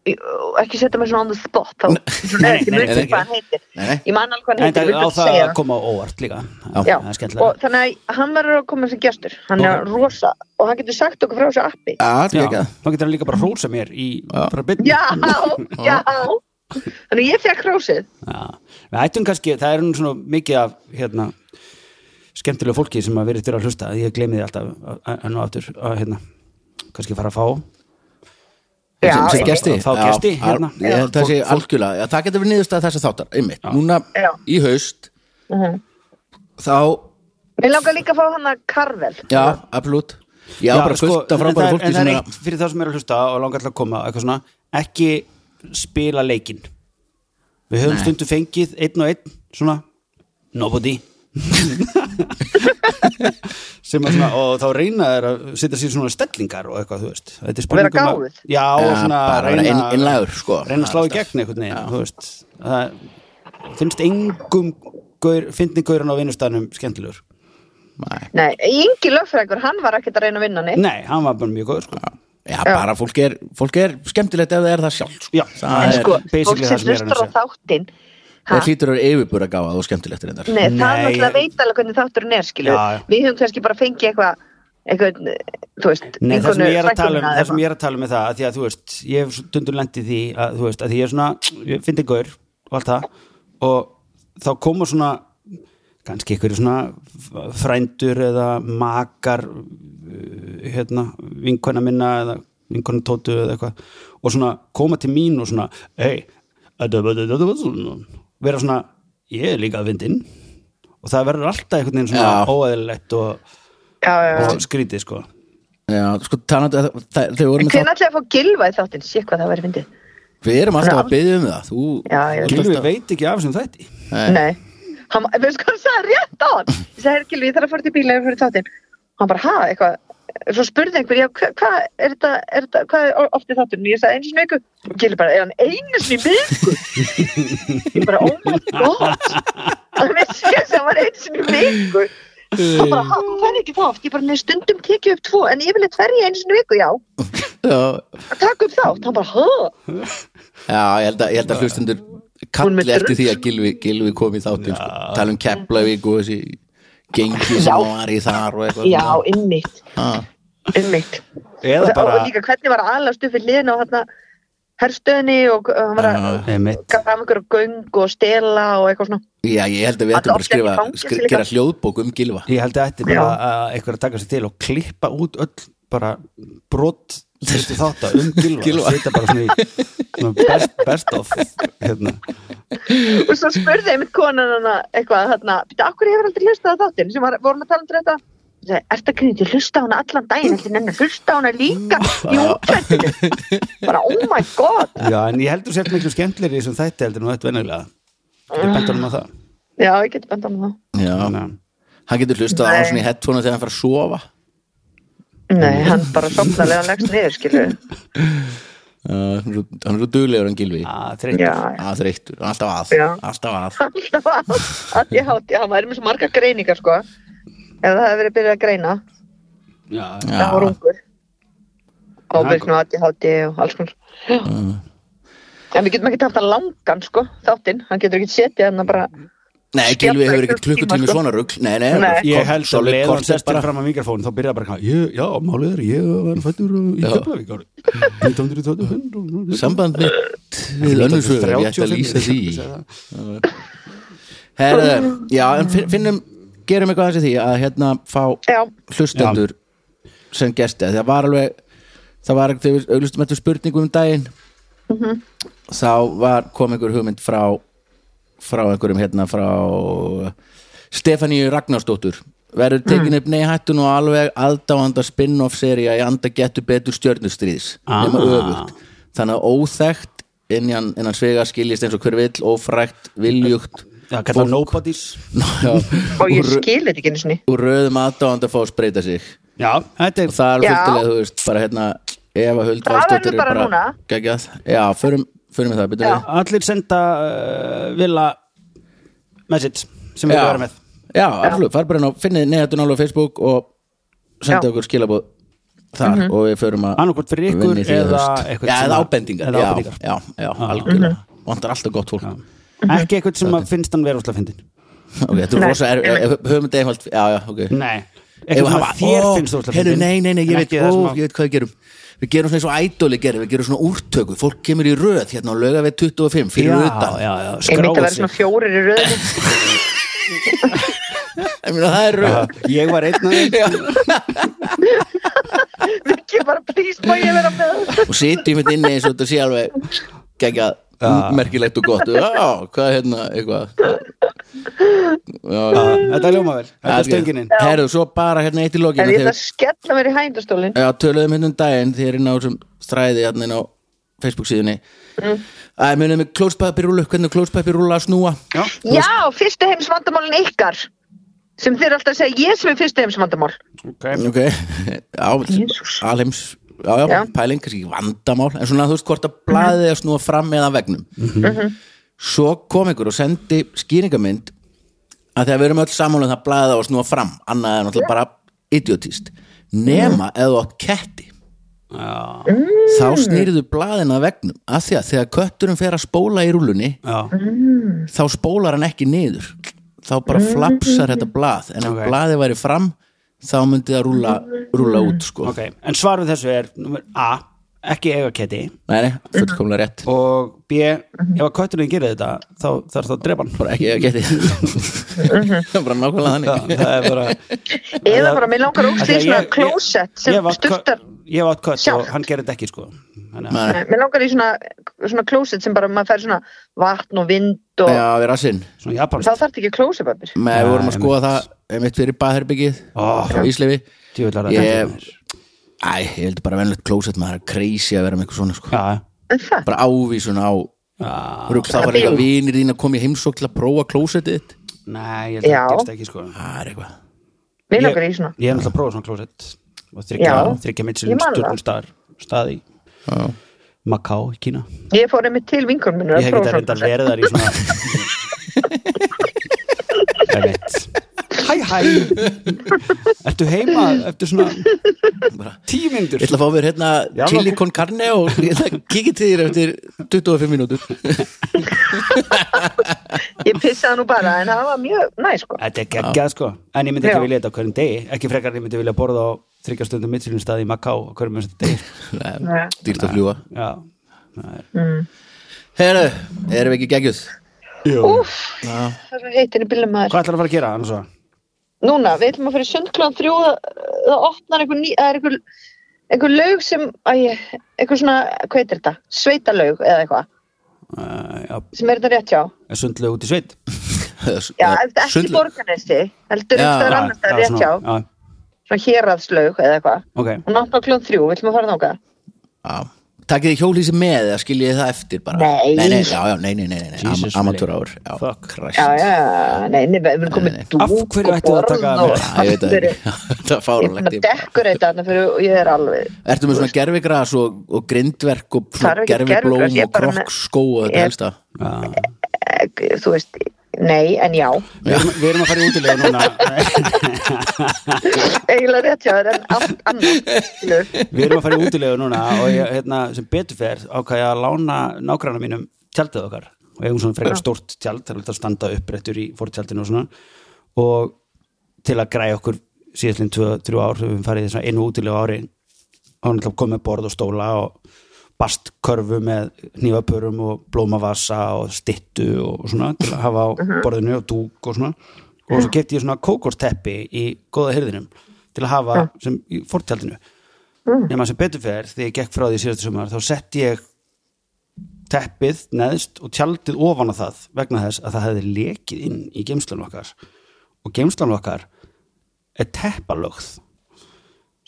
S4: ég- og ekki setja mig svona on the spot, þá svona er
S3: Nei,
S4: ekki
S3: nei,
S4: mjög
S3: nei,
S4: til hvað hann heitir.
S2: Nei, nei.
S4: Ég man alveg hvað hann
S3: en
S4: heitir,
S3: það á
S4: ég vil bara
S3: það
S4: segja
S3: að
S4: það.
S3: koma á óvart líka
S4: Já,
S3: það er
S4: og
S3: skemmtilega
S4: þannig að hann verður að koma sem gestur, hann er rosa og hann getur sagt okkur frá þessu appi.
S2: Já,
S3: Já,
S2: geggjað
S3: þá getur hann líka bara hrósa mér í bara byrni
S4: Já, já, þannig að ég fekk hrósið.
S3: Við ættum kannski, það er nú svona mikið af hérna, skemmtilega fólki sem að verið til að hlusta, ég gleymi því alltaf að- að- enn og aftur að hérna kannski fara að fá
S4: Já,
S2: sem, sem
S4: ég-
S2: gesti,
S3: Þá gesti,
S2: já,
S3: hérna.
S2: ég held það sé
S3: Fólk-
S2: algjörlega, já, það getur verið niðurstað þessa þáttar einmitt, núna
S4: Já.
S2: í haust
S4: Mhm.
S2: þá,
S4: Mér langar líka að fá hann að Karvel
S2: já, absolutt Já, bara fullt af
S3: sko, en
S2: frábæra
S3: það er-
S2: fólki
S3: en það
S2: sem
S3: er
S2: að
S3: eitt fyrir það sem er að hlusta og langar til að koma eitthvað svona, ekki spila leikinn við höfum stundu fengið einn og einn svona,
S2: *laughs*
S3: nobody sem að svona, og þá reyna þeir að setja sér svona stellingar og eitthvað, þú veist Þetta er
S4: vera
S3: spurning um að-
S4: gáfuð.
S3: já, og
S2: Ja,
S3: svona
S2: bara vera inn- innlagður, sko.
S3: reyna að slá í gegn einhvern veginn, þú veist það finnst engum gaur, finnir gaurinn á vinnustanum skemmtilegur
S2: Nei.
S4: Nei, Ingi lögfræðingur, hann var ekkert að reyna að
S2: Eh?
S4: vinna neitt.
S3: nei, hann var bara mjög góður sko.
S2: Já, bara fólk er, fólk er skemmtilegt ef það er það sjálf sko.
S3: Já,
S2: það
S4: En
S2: er,
S4: sko,
S3: basically
S4: fólk
S3: það
S4: sem
S3: sem ég er að
S4: hlustar á þáttinn, ha,
S2: það hlýtur að vera yfirbúra gáða og skemmtilegt reyndar
S4: nei, það er
S3: Nei,
S4: náttúrulega
S3: ég-
S4: veit alveg hvernig þátturinn er, skilju.
S3: Já, já.
S4: Við höfum kannski bara fengið eitthvað, eitthvað, þú veist,
S3: Nei, það sem
S4: vinkonu
S3: ég er að tala um,
S4: frænkunnar
S3: það sem
S4: eða
S3: ég er að tala um er það að því að þú veist, ég hef stundum lendið því að þú veist, að því ég er svona, ég fyndi gaur og allt það og þá koma svona kannski einhverju svona frændur eða makar uh, hérna, vinkona minna eða vinkona tótu eða eitthvað og svona koma til mín og svona hei, þetta var- þetta var svona vera svona, ég er líka að vindin og það verður alltaf einhvern veginn svona
S2: Já.
S3: óæðilegt og,
S4: eitthvað. Já, já, já.
S3: og skrítið sko
S2: Já, sko, talandi, það, það, þegar við vorum
S4: En
S2: með þátt
S4: hvernig ætlaði að fá gilva í þáttinn? Sér hvað það væri fyndið.
S2: Við erum alltaf
S4: Já.
S2: að byggja um það Þú,
S4: Já, ég veit.
S3: Gylfi veit ekki af þessum þætti
S4: Nei. Hann, veistu hvað hann sagði rétt á hann? Ég sagði, herri Gilvi, ég þarf að fara til bíla fyrir þáttinn. Hann bara, ha, eitthvað. Svo spurði einhver, já, hva- hvað er þetta, er þetta, hvað er oft í þáttunum? Ég sagði einu sinni í viku. Og Gilvi bara, er hann einu sinni í viku? Ég bara, oh my god. Hann vissi ekki að hann var einu sinni í viku. Hann bara, ha, þú fer ekki það oft. Ég bara, nei, stundum tekið upp tvo, en ég vil eitthvað fer ég einu sinni í viku, já.
S2: Já,
S4: Takk upp þátt. Hann bara, ha,
S2: já, ég held að, ég held að hlustundur
S4: Hún með
S2: kalli eftir
S4: drullu.
S2: því að Gilvi, Gilvi kom í þáttinn sko. tala um Keflavík og þessi gengi sem
S4: Já.
S2: var í þar og eitthvað
S4: já, ymmit,
S2: Ah.
S4: ymmit. og,
S3: eða
S4: það-
S3: bara
S4: og líka hvernig var að alast upp við liðin á hérna herrstöðinni og uh, hann var að
S3: einmitt,
S4: gaf fram einhverju göng og stela og eitthvað svona
S2: Já, ég held að við
S4: Hann
S2: ættum bara að
S4: átti ekki
S2: skrifa,
S4: fangelsi
S2: skri,
S4: líka.
S2: gera hljóðbók um Gilva
S3: ég held að þetta bara
S4: Já.
S3: að einhver að taka sér til og klippa út öll bara brot þessi þátt að um gilva,
S2: *laughs* Gylfa.
S3: setja bara svona í svona best, best of hérna.
S4: og svo spurði einmitt konan hana eitthvað þarna, býta, akkur hefur aldrei hlustað á þáttinn sem var, vorum að tala um þetta Ég sagði, Er þetta grínið, ég hlusta á hana allan daginn, ætli nenni að hlusta á hana líka í útlættinu. Bara, oh my god.
S3: já, en ég heldur sér miklu skemmtlir í þessum þætti heldur en þetta venjulega ég bent honum á það
S4: Já, ég geti benda á það.
S2: Já,
S3: Þannig að-
S2: hann getur hlustað á
S4: Nei.
S2: svona í headphoneu þegar hann fara að sofa
S4: Nei, hann bara sopnalega leggst niður, skilju.
S2: uh, hann er svo- hann er svo duglegur hann Gilvi
S3: að
S4: Já,
S3: þreytur
S4: já. *laughs*
S2: að þreyttur, alltaf að
S4: Já.
S2: alltaf að
S4: alltaf að að ég hátti, hann væri með svo marga greiningar sko ef það hefði verið byrjað að greina
S3: já,
S2: Já.
S4: það var ungur ábyrgn og að ég hátti og alls konar en við getum ekki haft að langan sko þáttinn, hann getur ekki setið hann bara
S2: Nei,
S4: Spjalla
S2: Gilvi hefur ekkert
S4: einhvern tíma,
S2: klukkutími
S4: sko.
S2: svona rugg Nei, nei,
S4: Nei.
S2: kort-
S3: ég held að
S2: solid
S3: leða hann
S2: kort er
S3: sestir
S2: bara-
S3: fram að mikrofón þá byrja bara, eitthvað, ég- já, málið er ég var fættur í
S2: Já.
S3: Keflavík
S2: *laughs*
S3: árið 1925
S2: Samband mitt við önnur sögur, ég ætti að lýsa því Herðu, já, en fin- finnum gerum eitthvað þessi því að hérna fá
S4: já,
S2: hlustendur sem gesti, það var alveg það var, þegar við auglustum eftir spurningum um daginn
S4: Mhm.
S2: þá var, kom einhver hugmynd frá frá einhverjum hérna frá Stefaníu Ragnarsdóttur verður
S4: Mhm.
S2: tekin upp nei hættu nú alveg aðdáanda spin-off seria í anda getur betur stjörnustríðs
S3: Ah.
S2: nema öfugt þannig að óþekkt innan, innan svega skiljist eins og hver vill ófrækt, viljugt
S3: Já, kallar nobodies
S2: já,
S4: og ég
S2: úr, rö-
S4: skil þetta ekki einu sinni
S2: úr röðum aðdáanda fá að spreita sig
S3: Já, þetta
S2: og
S3: er
S2: það er
S4: Já.
S2: fullt að þú veist bara hérna Eva Huld
S4: Það
S2: Valsdóttir
S4: verður bara núna.
S2: geggjað já, förum, förum við það betur við
S4: Já.
S3: allir senda uh, vilja message sem við verðum með
S2: já, absolutt, fara bara inn á finnið neðatun alveg á Facebook og senda
S4: Já. Mhm.
S2: okkur skilabóð þar og við förum að
S3: Annarkvort fyrir ykkur
S2: vinna í því í
S3: eða
S2: haust.
S3: eitthvað
S2: já,
S3: sem
S2: eða
S3: að-
S2: ábendingar,
S3: eða
S2: já,
S3: ábendingar. Ah.
S2: já, já, algjörlega
S4: Mhm.
S2: vantar alltaf gott fólk
S3: ekki eitthvað sem að finnst hann vera úslega fyndin
S2: ok, þetta er
S4: Nei.
S2: rosa, er, er, höfum þetta einhvert já, já, ok
S3: Nei, eitthvað sem að þér finnst úslega
S2: heru,
S3: fyndin
S2: nei, nei, nei,
S3: en
S2: ég veit,
S3: ekki það
S2: ó,
S3: sem að-
S2: ég veit hvað við gerum við gerum svona eins og ædóli gerum, við gerum svona úrtöku fólk kemur í röð hérna á löga 25 fyrir utan
S3: Já, já, já,
S4: ég myndi að
S3: skráðu
S4: vera svona
S3: sig
S4: fjórir í röðinu
S3: *laughs*
S2: Ég meina, það
S3: Já,
S2: er röð
S3: Ég var einn af þeim.
S4: ekki bara please má ég vera með
S2: og sitjum hérna inni eins og þetta sé alveg geggjað
S3: Já.
S2: merkilegt og gott já, hvað er hérna, eitthvað já, já.
S3: Þetta er ljóma vel, þetta er stöngininn
S2: herðu, svo bara hérna eitt í
S4: En
S2: lokinu
S4: ég ætla
S2: þegar
S4: að skella mér í hændastólinn
S2: Já, töluðum hérna um daginn þegar inn á þessum þræði hérna inn á Facebook síðunni
S4: Mm.
S2: að munum við klóspapirúlu hvernig klóspapirúla snúa
S3: Já,
S4: Já, fyrstu heimsvandamálin ykkar sem þeir alltaf segja ég sem er fyrstu heimsvandamál
S3: ok
S2: ok, *laughs* já,
S4: Jesús.
S2: alheims já, já,
S4: Já.
S2: pæling, kannski ekki vandamál en svona þú veist hvort að blaðið er að snúa fram eða að vegnum
S4: Mhm.
S2: svo kom einhver og sendi skýringamynd að þegar við erum öll samanlega það blaðið á að snúa fram annað er náttúrulega bara idiotist
S4: Mhm.
S2: nema mm. eða átt ketti
S3: Já,
S2: þá
S4: Mm.
S2: snýrðu blaðina að vegnum af því að þegar kötturum fer að spóla í rúlunni
S3: já,
S2: þá spólar hann ekki niður þá bara flapsar þetta blað en ef
S3: Ok.
S2: blaðið væri fram þá myndi það rúla, rúla út sko.
S3: ok En svar við þessu er númer A, ekki eiga ketti
S2: nei, nei, fullkomlega rétt
S3: og B, ef að kötturinn gerir þetta þá þarf það að drepa hann
S2: bara ekki að geti *laughs* bara nákvæmlega
S3: Já, *laughs*
S2: þannig
S3: það er bara
S4: eða bara mér langar ógst í
S3: Ég-
S4: svona
S3: ég-
S4: klósett sem
S3: ég hef átt kö-
S4: stuttar
S3: Ég hef átt kött og
S4: Sjálf.
S3: hann gerir þetta ekki sko Þannig að
S2: Nei, nei.
S4: mér langar í svona, svona klósett sem bara maður fær svona vatn og vind og
S2: já, við rassinn
S3: svona
S4: þá
S3: japanst
S4: þarf ekki klósettpapir
S2: Nei, við vorum að
S3: Nei,
S2: skoða það einmitt fyrir baðherbyggið
S3: Ó,
S2: frá Íslefi
S3: Djöfullar að þetta
S2: ég, æ, ég held bara venlegt klósett maður er crazy að vera með eitthvað svona sko.
S3: Já,
S4: en það,
S2: bara ávísun á
S3: já
S2: rugl, það var eitthvað vinir þín að koma í heimsók til að prófa klósettið þitt.
S3: Nei, ég held að
S4: Já.
S3: það gerst ekki sko
S2: það er eitthvað
S4: mér
S3: Ég-
S4: langar í svona
S3: Ég hef náttúrulega prófað svona klósett og
S4: Já.
S3: þryggja, þryggja
S4: Ég
S3: mitsilinn
S4: man það.
S3: stjórnum staðar staði í
S2: Já.
S3: Macá í Kína
S4: ég fór einmitt til vinkunum minnur
S3: Ég hef getað reynda verið þar í svona *laughs* Það er mitt Hæ hæ Ertu heima eftir
S4: *laughs*
S3: svona
S2: Bara-
S3: tíu
S2: Ég
S3: myndur
S2: ætla að fá mér hérna
S3: Já,
S2: chili
S3: það-
S2: con carne og ég ætla að kikið til þér eftir 25 mínútur
S4: ég pissaði nú bara en það var mjög næ sko
S3: Þetta er geggjað sko En ég myndi ekki
S4: Já.
S3: vilja þetta á hverjum degi Ekki frekar en ég myndi vilja borða á þryggja stundum mitsilinn staði í Macá á hverjum þessu degi sko.
S2: Nei,
S4: Nei.
S2: Dýrt að fljúa
S3: Já Það er-
S2: Herru, erum við ekki geggjuð?
S4: Úf,
S2: Já.
S4: það er svo heitin í bílum maður
S3: Hvað ætlar að fara að gera annars og?
S4: Núna, við ætlum að fyrir sundklóðan þrjú það- það opnar einhver ný, það er einhver einhver laug sem, æ, einhver svona hvað heitir þetta, sveitalaug eða eitthvað,
S3: Uh, já,
S4: sem er þetta rétt hjá
S3: er sundlega út í sveit
S4: Já,
S2: Eh,
S4: eftir ekki
S2: sundlaug.
S4: borganesti heldur
S2: Já,
S4: einhver staðar
S3: Já,
S4: annars það
S3: já,
S4: er rétt hjá,
S3: svona, já,
S4: svona héraðslaug eða eitthvað,
S3: Ok,
S4: hún opnar klóðan þrjú við ætlum að fara þáka,
S2: Já. Takið þið hjólísi með eða skiljið þið það eftir bara
S4: Nei.
S2: nei, nei, já, já, nei, nei, nei, nei, nei.
S3: Jesus,
S2: amatúra ár Já,
S3: Fuck.
S2: Christ.
S4: já, já, já, nei, nei, við erum komið
S2: Nei, nei.
S4: dúk
S3: Af hverju
S4: og
S3: ættu að
S4: borð
S3: taka af
S4: og
S3: þér?
S2: Já, ég veit það
S4: allir-
S2: ekki. *laughs* Það er
S4: ég er búin að
S2: fáránlegt
S4: dekkur þetta þarna fyrir og ég er alveg
S2: Ertu með svona gerfigras og, og grindverk og
S4: Þarf
S2: svona
S4: ekki gervigras,
S2: gerfiblóm
S4: ég er
S2: og
S4: bara með-
S2: krokkskó og þetta
S4: Ég-
S2: helsta
S3: já.
S4: eh, þú veist, nei, en já
S3: Við, erum, við erum að fara í útilega
S4: *laughs*
S3: núna
S4: eiginlega rétt hjá þér en allt annað skilur.
S3: Við erum að fara í útilega núna og ég, hérna, sem betur fer ákvæði að lána nágranna mínum tjaldið okkar og eigum svona frekar stórt tjald það er alltaf að standa upprættur í fórtjaldinu og svona og til að græja okkur síðastlinn 2-3 ár höfum við farið í þess að einu útilega á ári og hann alltaf komið borð og stóla og bastkörfu með hnífapörum og blómavasa og styttu og svona til að hafa á borðinu og dúk og svona og svo kefti ég svona kókosteppi í góða hyrðinum til að hafa sem í fortjaldinu nema sem betur fer þegar ég gekk frá því síðastu sumar þá sett ég teppið neðst og tjaldið ofan á það vegna þess að það hefði lekið inn í geimslan okkar og geimslan okkar er teppalögð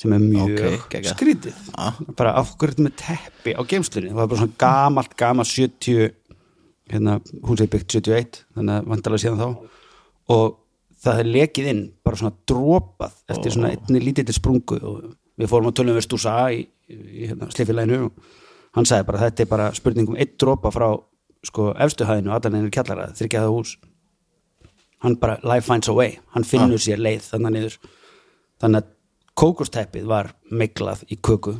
S3: sem er mjög
S2: Ok, geggjað.
S3: skrítið bara af hverju ertu með teppi á geimslunni það var bara svona gamalt, gamalt 70 hérna, hún segi byggt 71 þannig að vandalega síðan þá og það er lekið inn bara svona dropað eftir svona einni lítillir sprungu og við fórum að tölum við stúsa í, í hérna, slifileginu og hann sagði bara þetta er bara spurning um einn dropa frá sko efstuhæðinu allan einnig kjallara þryggjaða hús hann bara life finds a way, hann finnur
S2: Ah.
S3: sér leið þannig niður þannig að kókusteppið var miklað í köku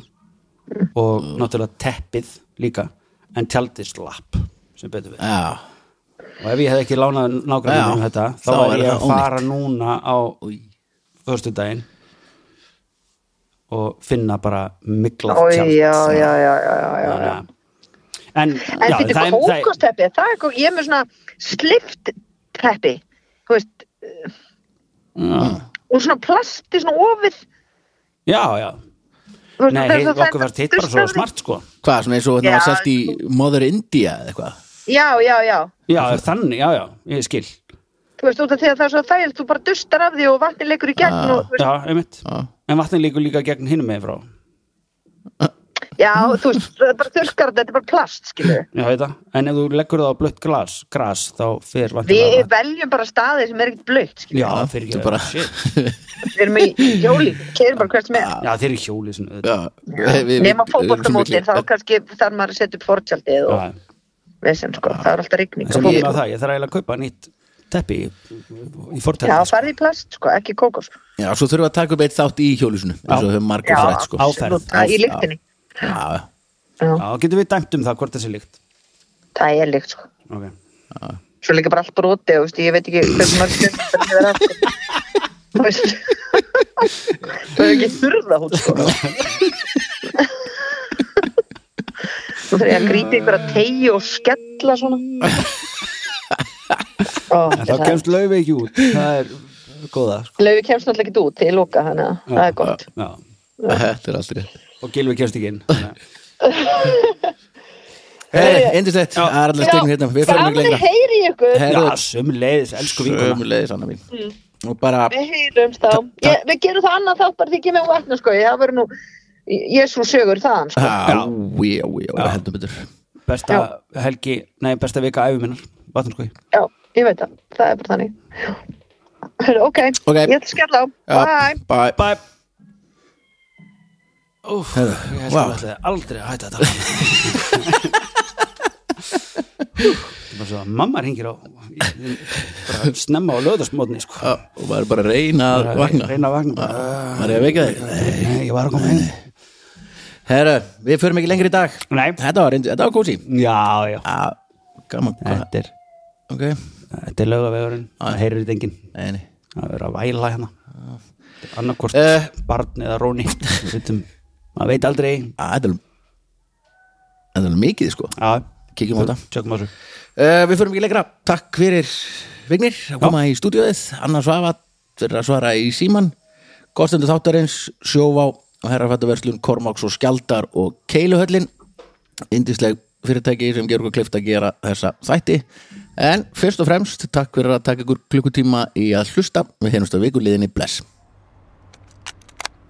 S3: og
S2: Mm.
S3: náttúrulega teppið líka en tjaldið slapp sem betur við
S2: Já,
S3: og ef ég hef ekki lánað
S2: Já,
S3: nákvæmlega um þetta þá
S2: þá
S3: var
S2: er
S3: ég
S2: það
S3: að fara núna á
S2: Új.
S3: förstudaginn og finna bara miklað
S4: Ó, já,
S3: tjald
S4: já, já, já, já, já, já.
S3: Þannig að- en,
S4: En
S3: já, það
S4: fyrir
S3: er- það er-
S4: kókosteppi, það er kók, ég er með svona slift teppi, þú veist,
S3: Já.
S4: úr svona plasti, svona ofið.
S3: já, já
S4: þú veist,
S3: Nei,
S4: það er
S3: hei,
S4: svo- það er
S3: okkur var hitt bara svo
S4: dustaði-
S3: smart sko
S2: Hvað, svona eins og
S4: Já,
S2: hérna var selt í Mother India eða eitthvað
S4: já, já, já
S3: já, þannig, já, já, ég skil
S4: þú veist, út af því að það er svo þægild þú bara dustar af því og vatni leikur í gegn
S2: Ah.
S4: og, þú veist,
S3: já, einmitt,
S2: Já.
S3: en vatnin líkur líka gegn hinum með frá,
S4: já, þú veist, það er bara þurrkar þetta er bara plast, skilur
S3: já, veit það en ef þú leggur það á blött glas, gras þá fer
S4: við
S3: vatnin
S4: veljum bara staði sem er ekkert blöitt, skilur
S3: já, það fer
S2: þetta
S3: ekki
S2: bara-
S3: Shit.
S4: við erum í hjóli, keirum bara hvert sem er
S3: já, þeir eru í hjóli svona,
S2: Já, við- við-
S4: nema
S2: við-
S4: fótboltamótin,
S2: við-
S4: þá kannski þarf maður að setja upp fortjaldið og
S3: já,
S4: vesen, sko, það er alltaf rigning
S3: sem ég
S4: á fótbolta.
S3: með það, ég þarf eiginlega að kaupa nýtt teppi í, í
S4: Já,
S3: fortætti sko.
S4: farði í plast, sko, ekki kókó sko.
S2: Já, svo þurfum við að taka upp eitt þátt í hjólusinu eins og þau margur
S4: Já,
S2: frætt sko
S3: á- Áferð.
S4: absolutt, það er í
S2: Áferð,
S4: lyktinni
S2: Já,
S4: Já,
S3: já, getum við dæmt um það hvort þessi líkt
S4: það er lykt, sko
S3: okay.
S4: Svo líka bara allt broti, þú veist, ég veit ekki hvernig maður stund það er aftur Þú veist Það er ekki þurða hún, sko Þú þarf ég að grípa ykkur að tegi og skella svona Ó,
S3: en
S4: er
S3: þá
S4: það
S3: kemst laufi ekki út það er góða sko.
S4: Laufi kemst náttúrulega ekki út til loka, þannig að það er gott
S3: já.
S2: þetta er aldrei
S3: og Gilvi kemst ekki inn þannig að-
S2: Hei, indislegt,
S3: Já.
S2: það er allir stegum hérna Við förum ekki lengra Sko,
S4: heyri ykkur
S2: Herðu,
S3: já, sömuleiðis, elsku vinkona
S2: Sömuleiðis, Anna mín Og bara,
S4: Mm. Við heyrumst þá. Ég, við gerum það annað þátt bara því ekki með vatna sko. Ég hafa verið nú, Jésu sögur þaðan sko.
S2: já, já, já, hendur betur
S3: besta helgi, nei, besta vika æfi minnar, vatn sko
S4: Já, ég veit það. Það er bara þannig. Já. Heyrðu, Ok,
S2: Ok.
S4: ég ætla að skella á.
S2: Já,
S4: Bye.
S2: Bye
S3: bye Úf, ég held
S2: wow.
S3: að það aldrei að hætta að tala um þetta Það er bara svo að mamma ringir á bara snemma á löðarsmótni sko.
S2: Já, Og maður er bara að reyna að
S3: Bara
S2: vakna
S3: reyna að vakna bara,
S2: Maður er að vekja þig
S3: Nei, ég var að koma heim
S2: Herra, við förum ekki lengri í dag
S3: Nei.
S2: Þetta var, reyndi- þetta var kósi
S3: Já, já,
S2: Já, gaman, hvað,
S3: þetta er,
S2: ok
S3: þetta er lögavegurinn það heyrir þetta enginn
S2: Nei, nei
S3: að vera að væla hérna annarkort
S2: Eh.
S3: barn eða róni Við vitum, maður veit aldrei
S2: Á, Þetta er Þetta er mikið, sko
S3: já,
S2: Kíkjum á þetta
S3: tjökkum á þessu
S2: Uh, við förum ekki lengra, takk fyrir Vignir að koma í stúdíóið Anna Svafa fyrir að svara í síman Kostendur þáttarins, sjóvá og herrafættaverslun, Kormáks og Skjaldar og Keiluhöllin Indisleg fyrirtæki sem gerur okkur klift að gera þessa þætti En fyrst og fremst, takk fyrir að taka ykkur klukkutíma í að hlusta Við heimumst á vikuliðinni, bless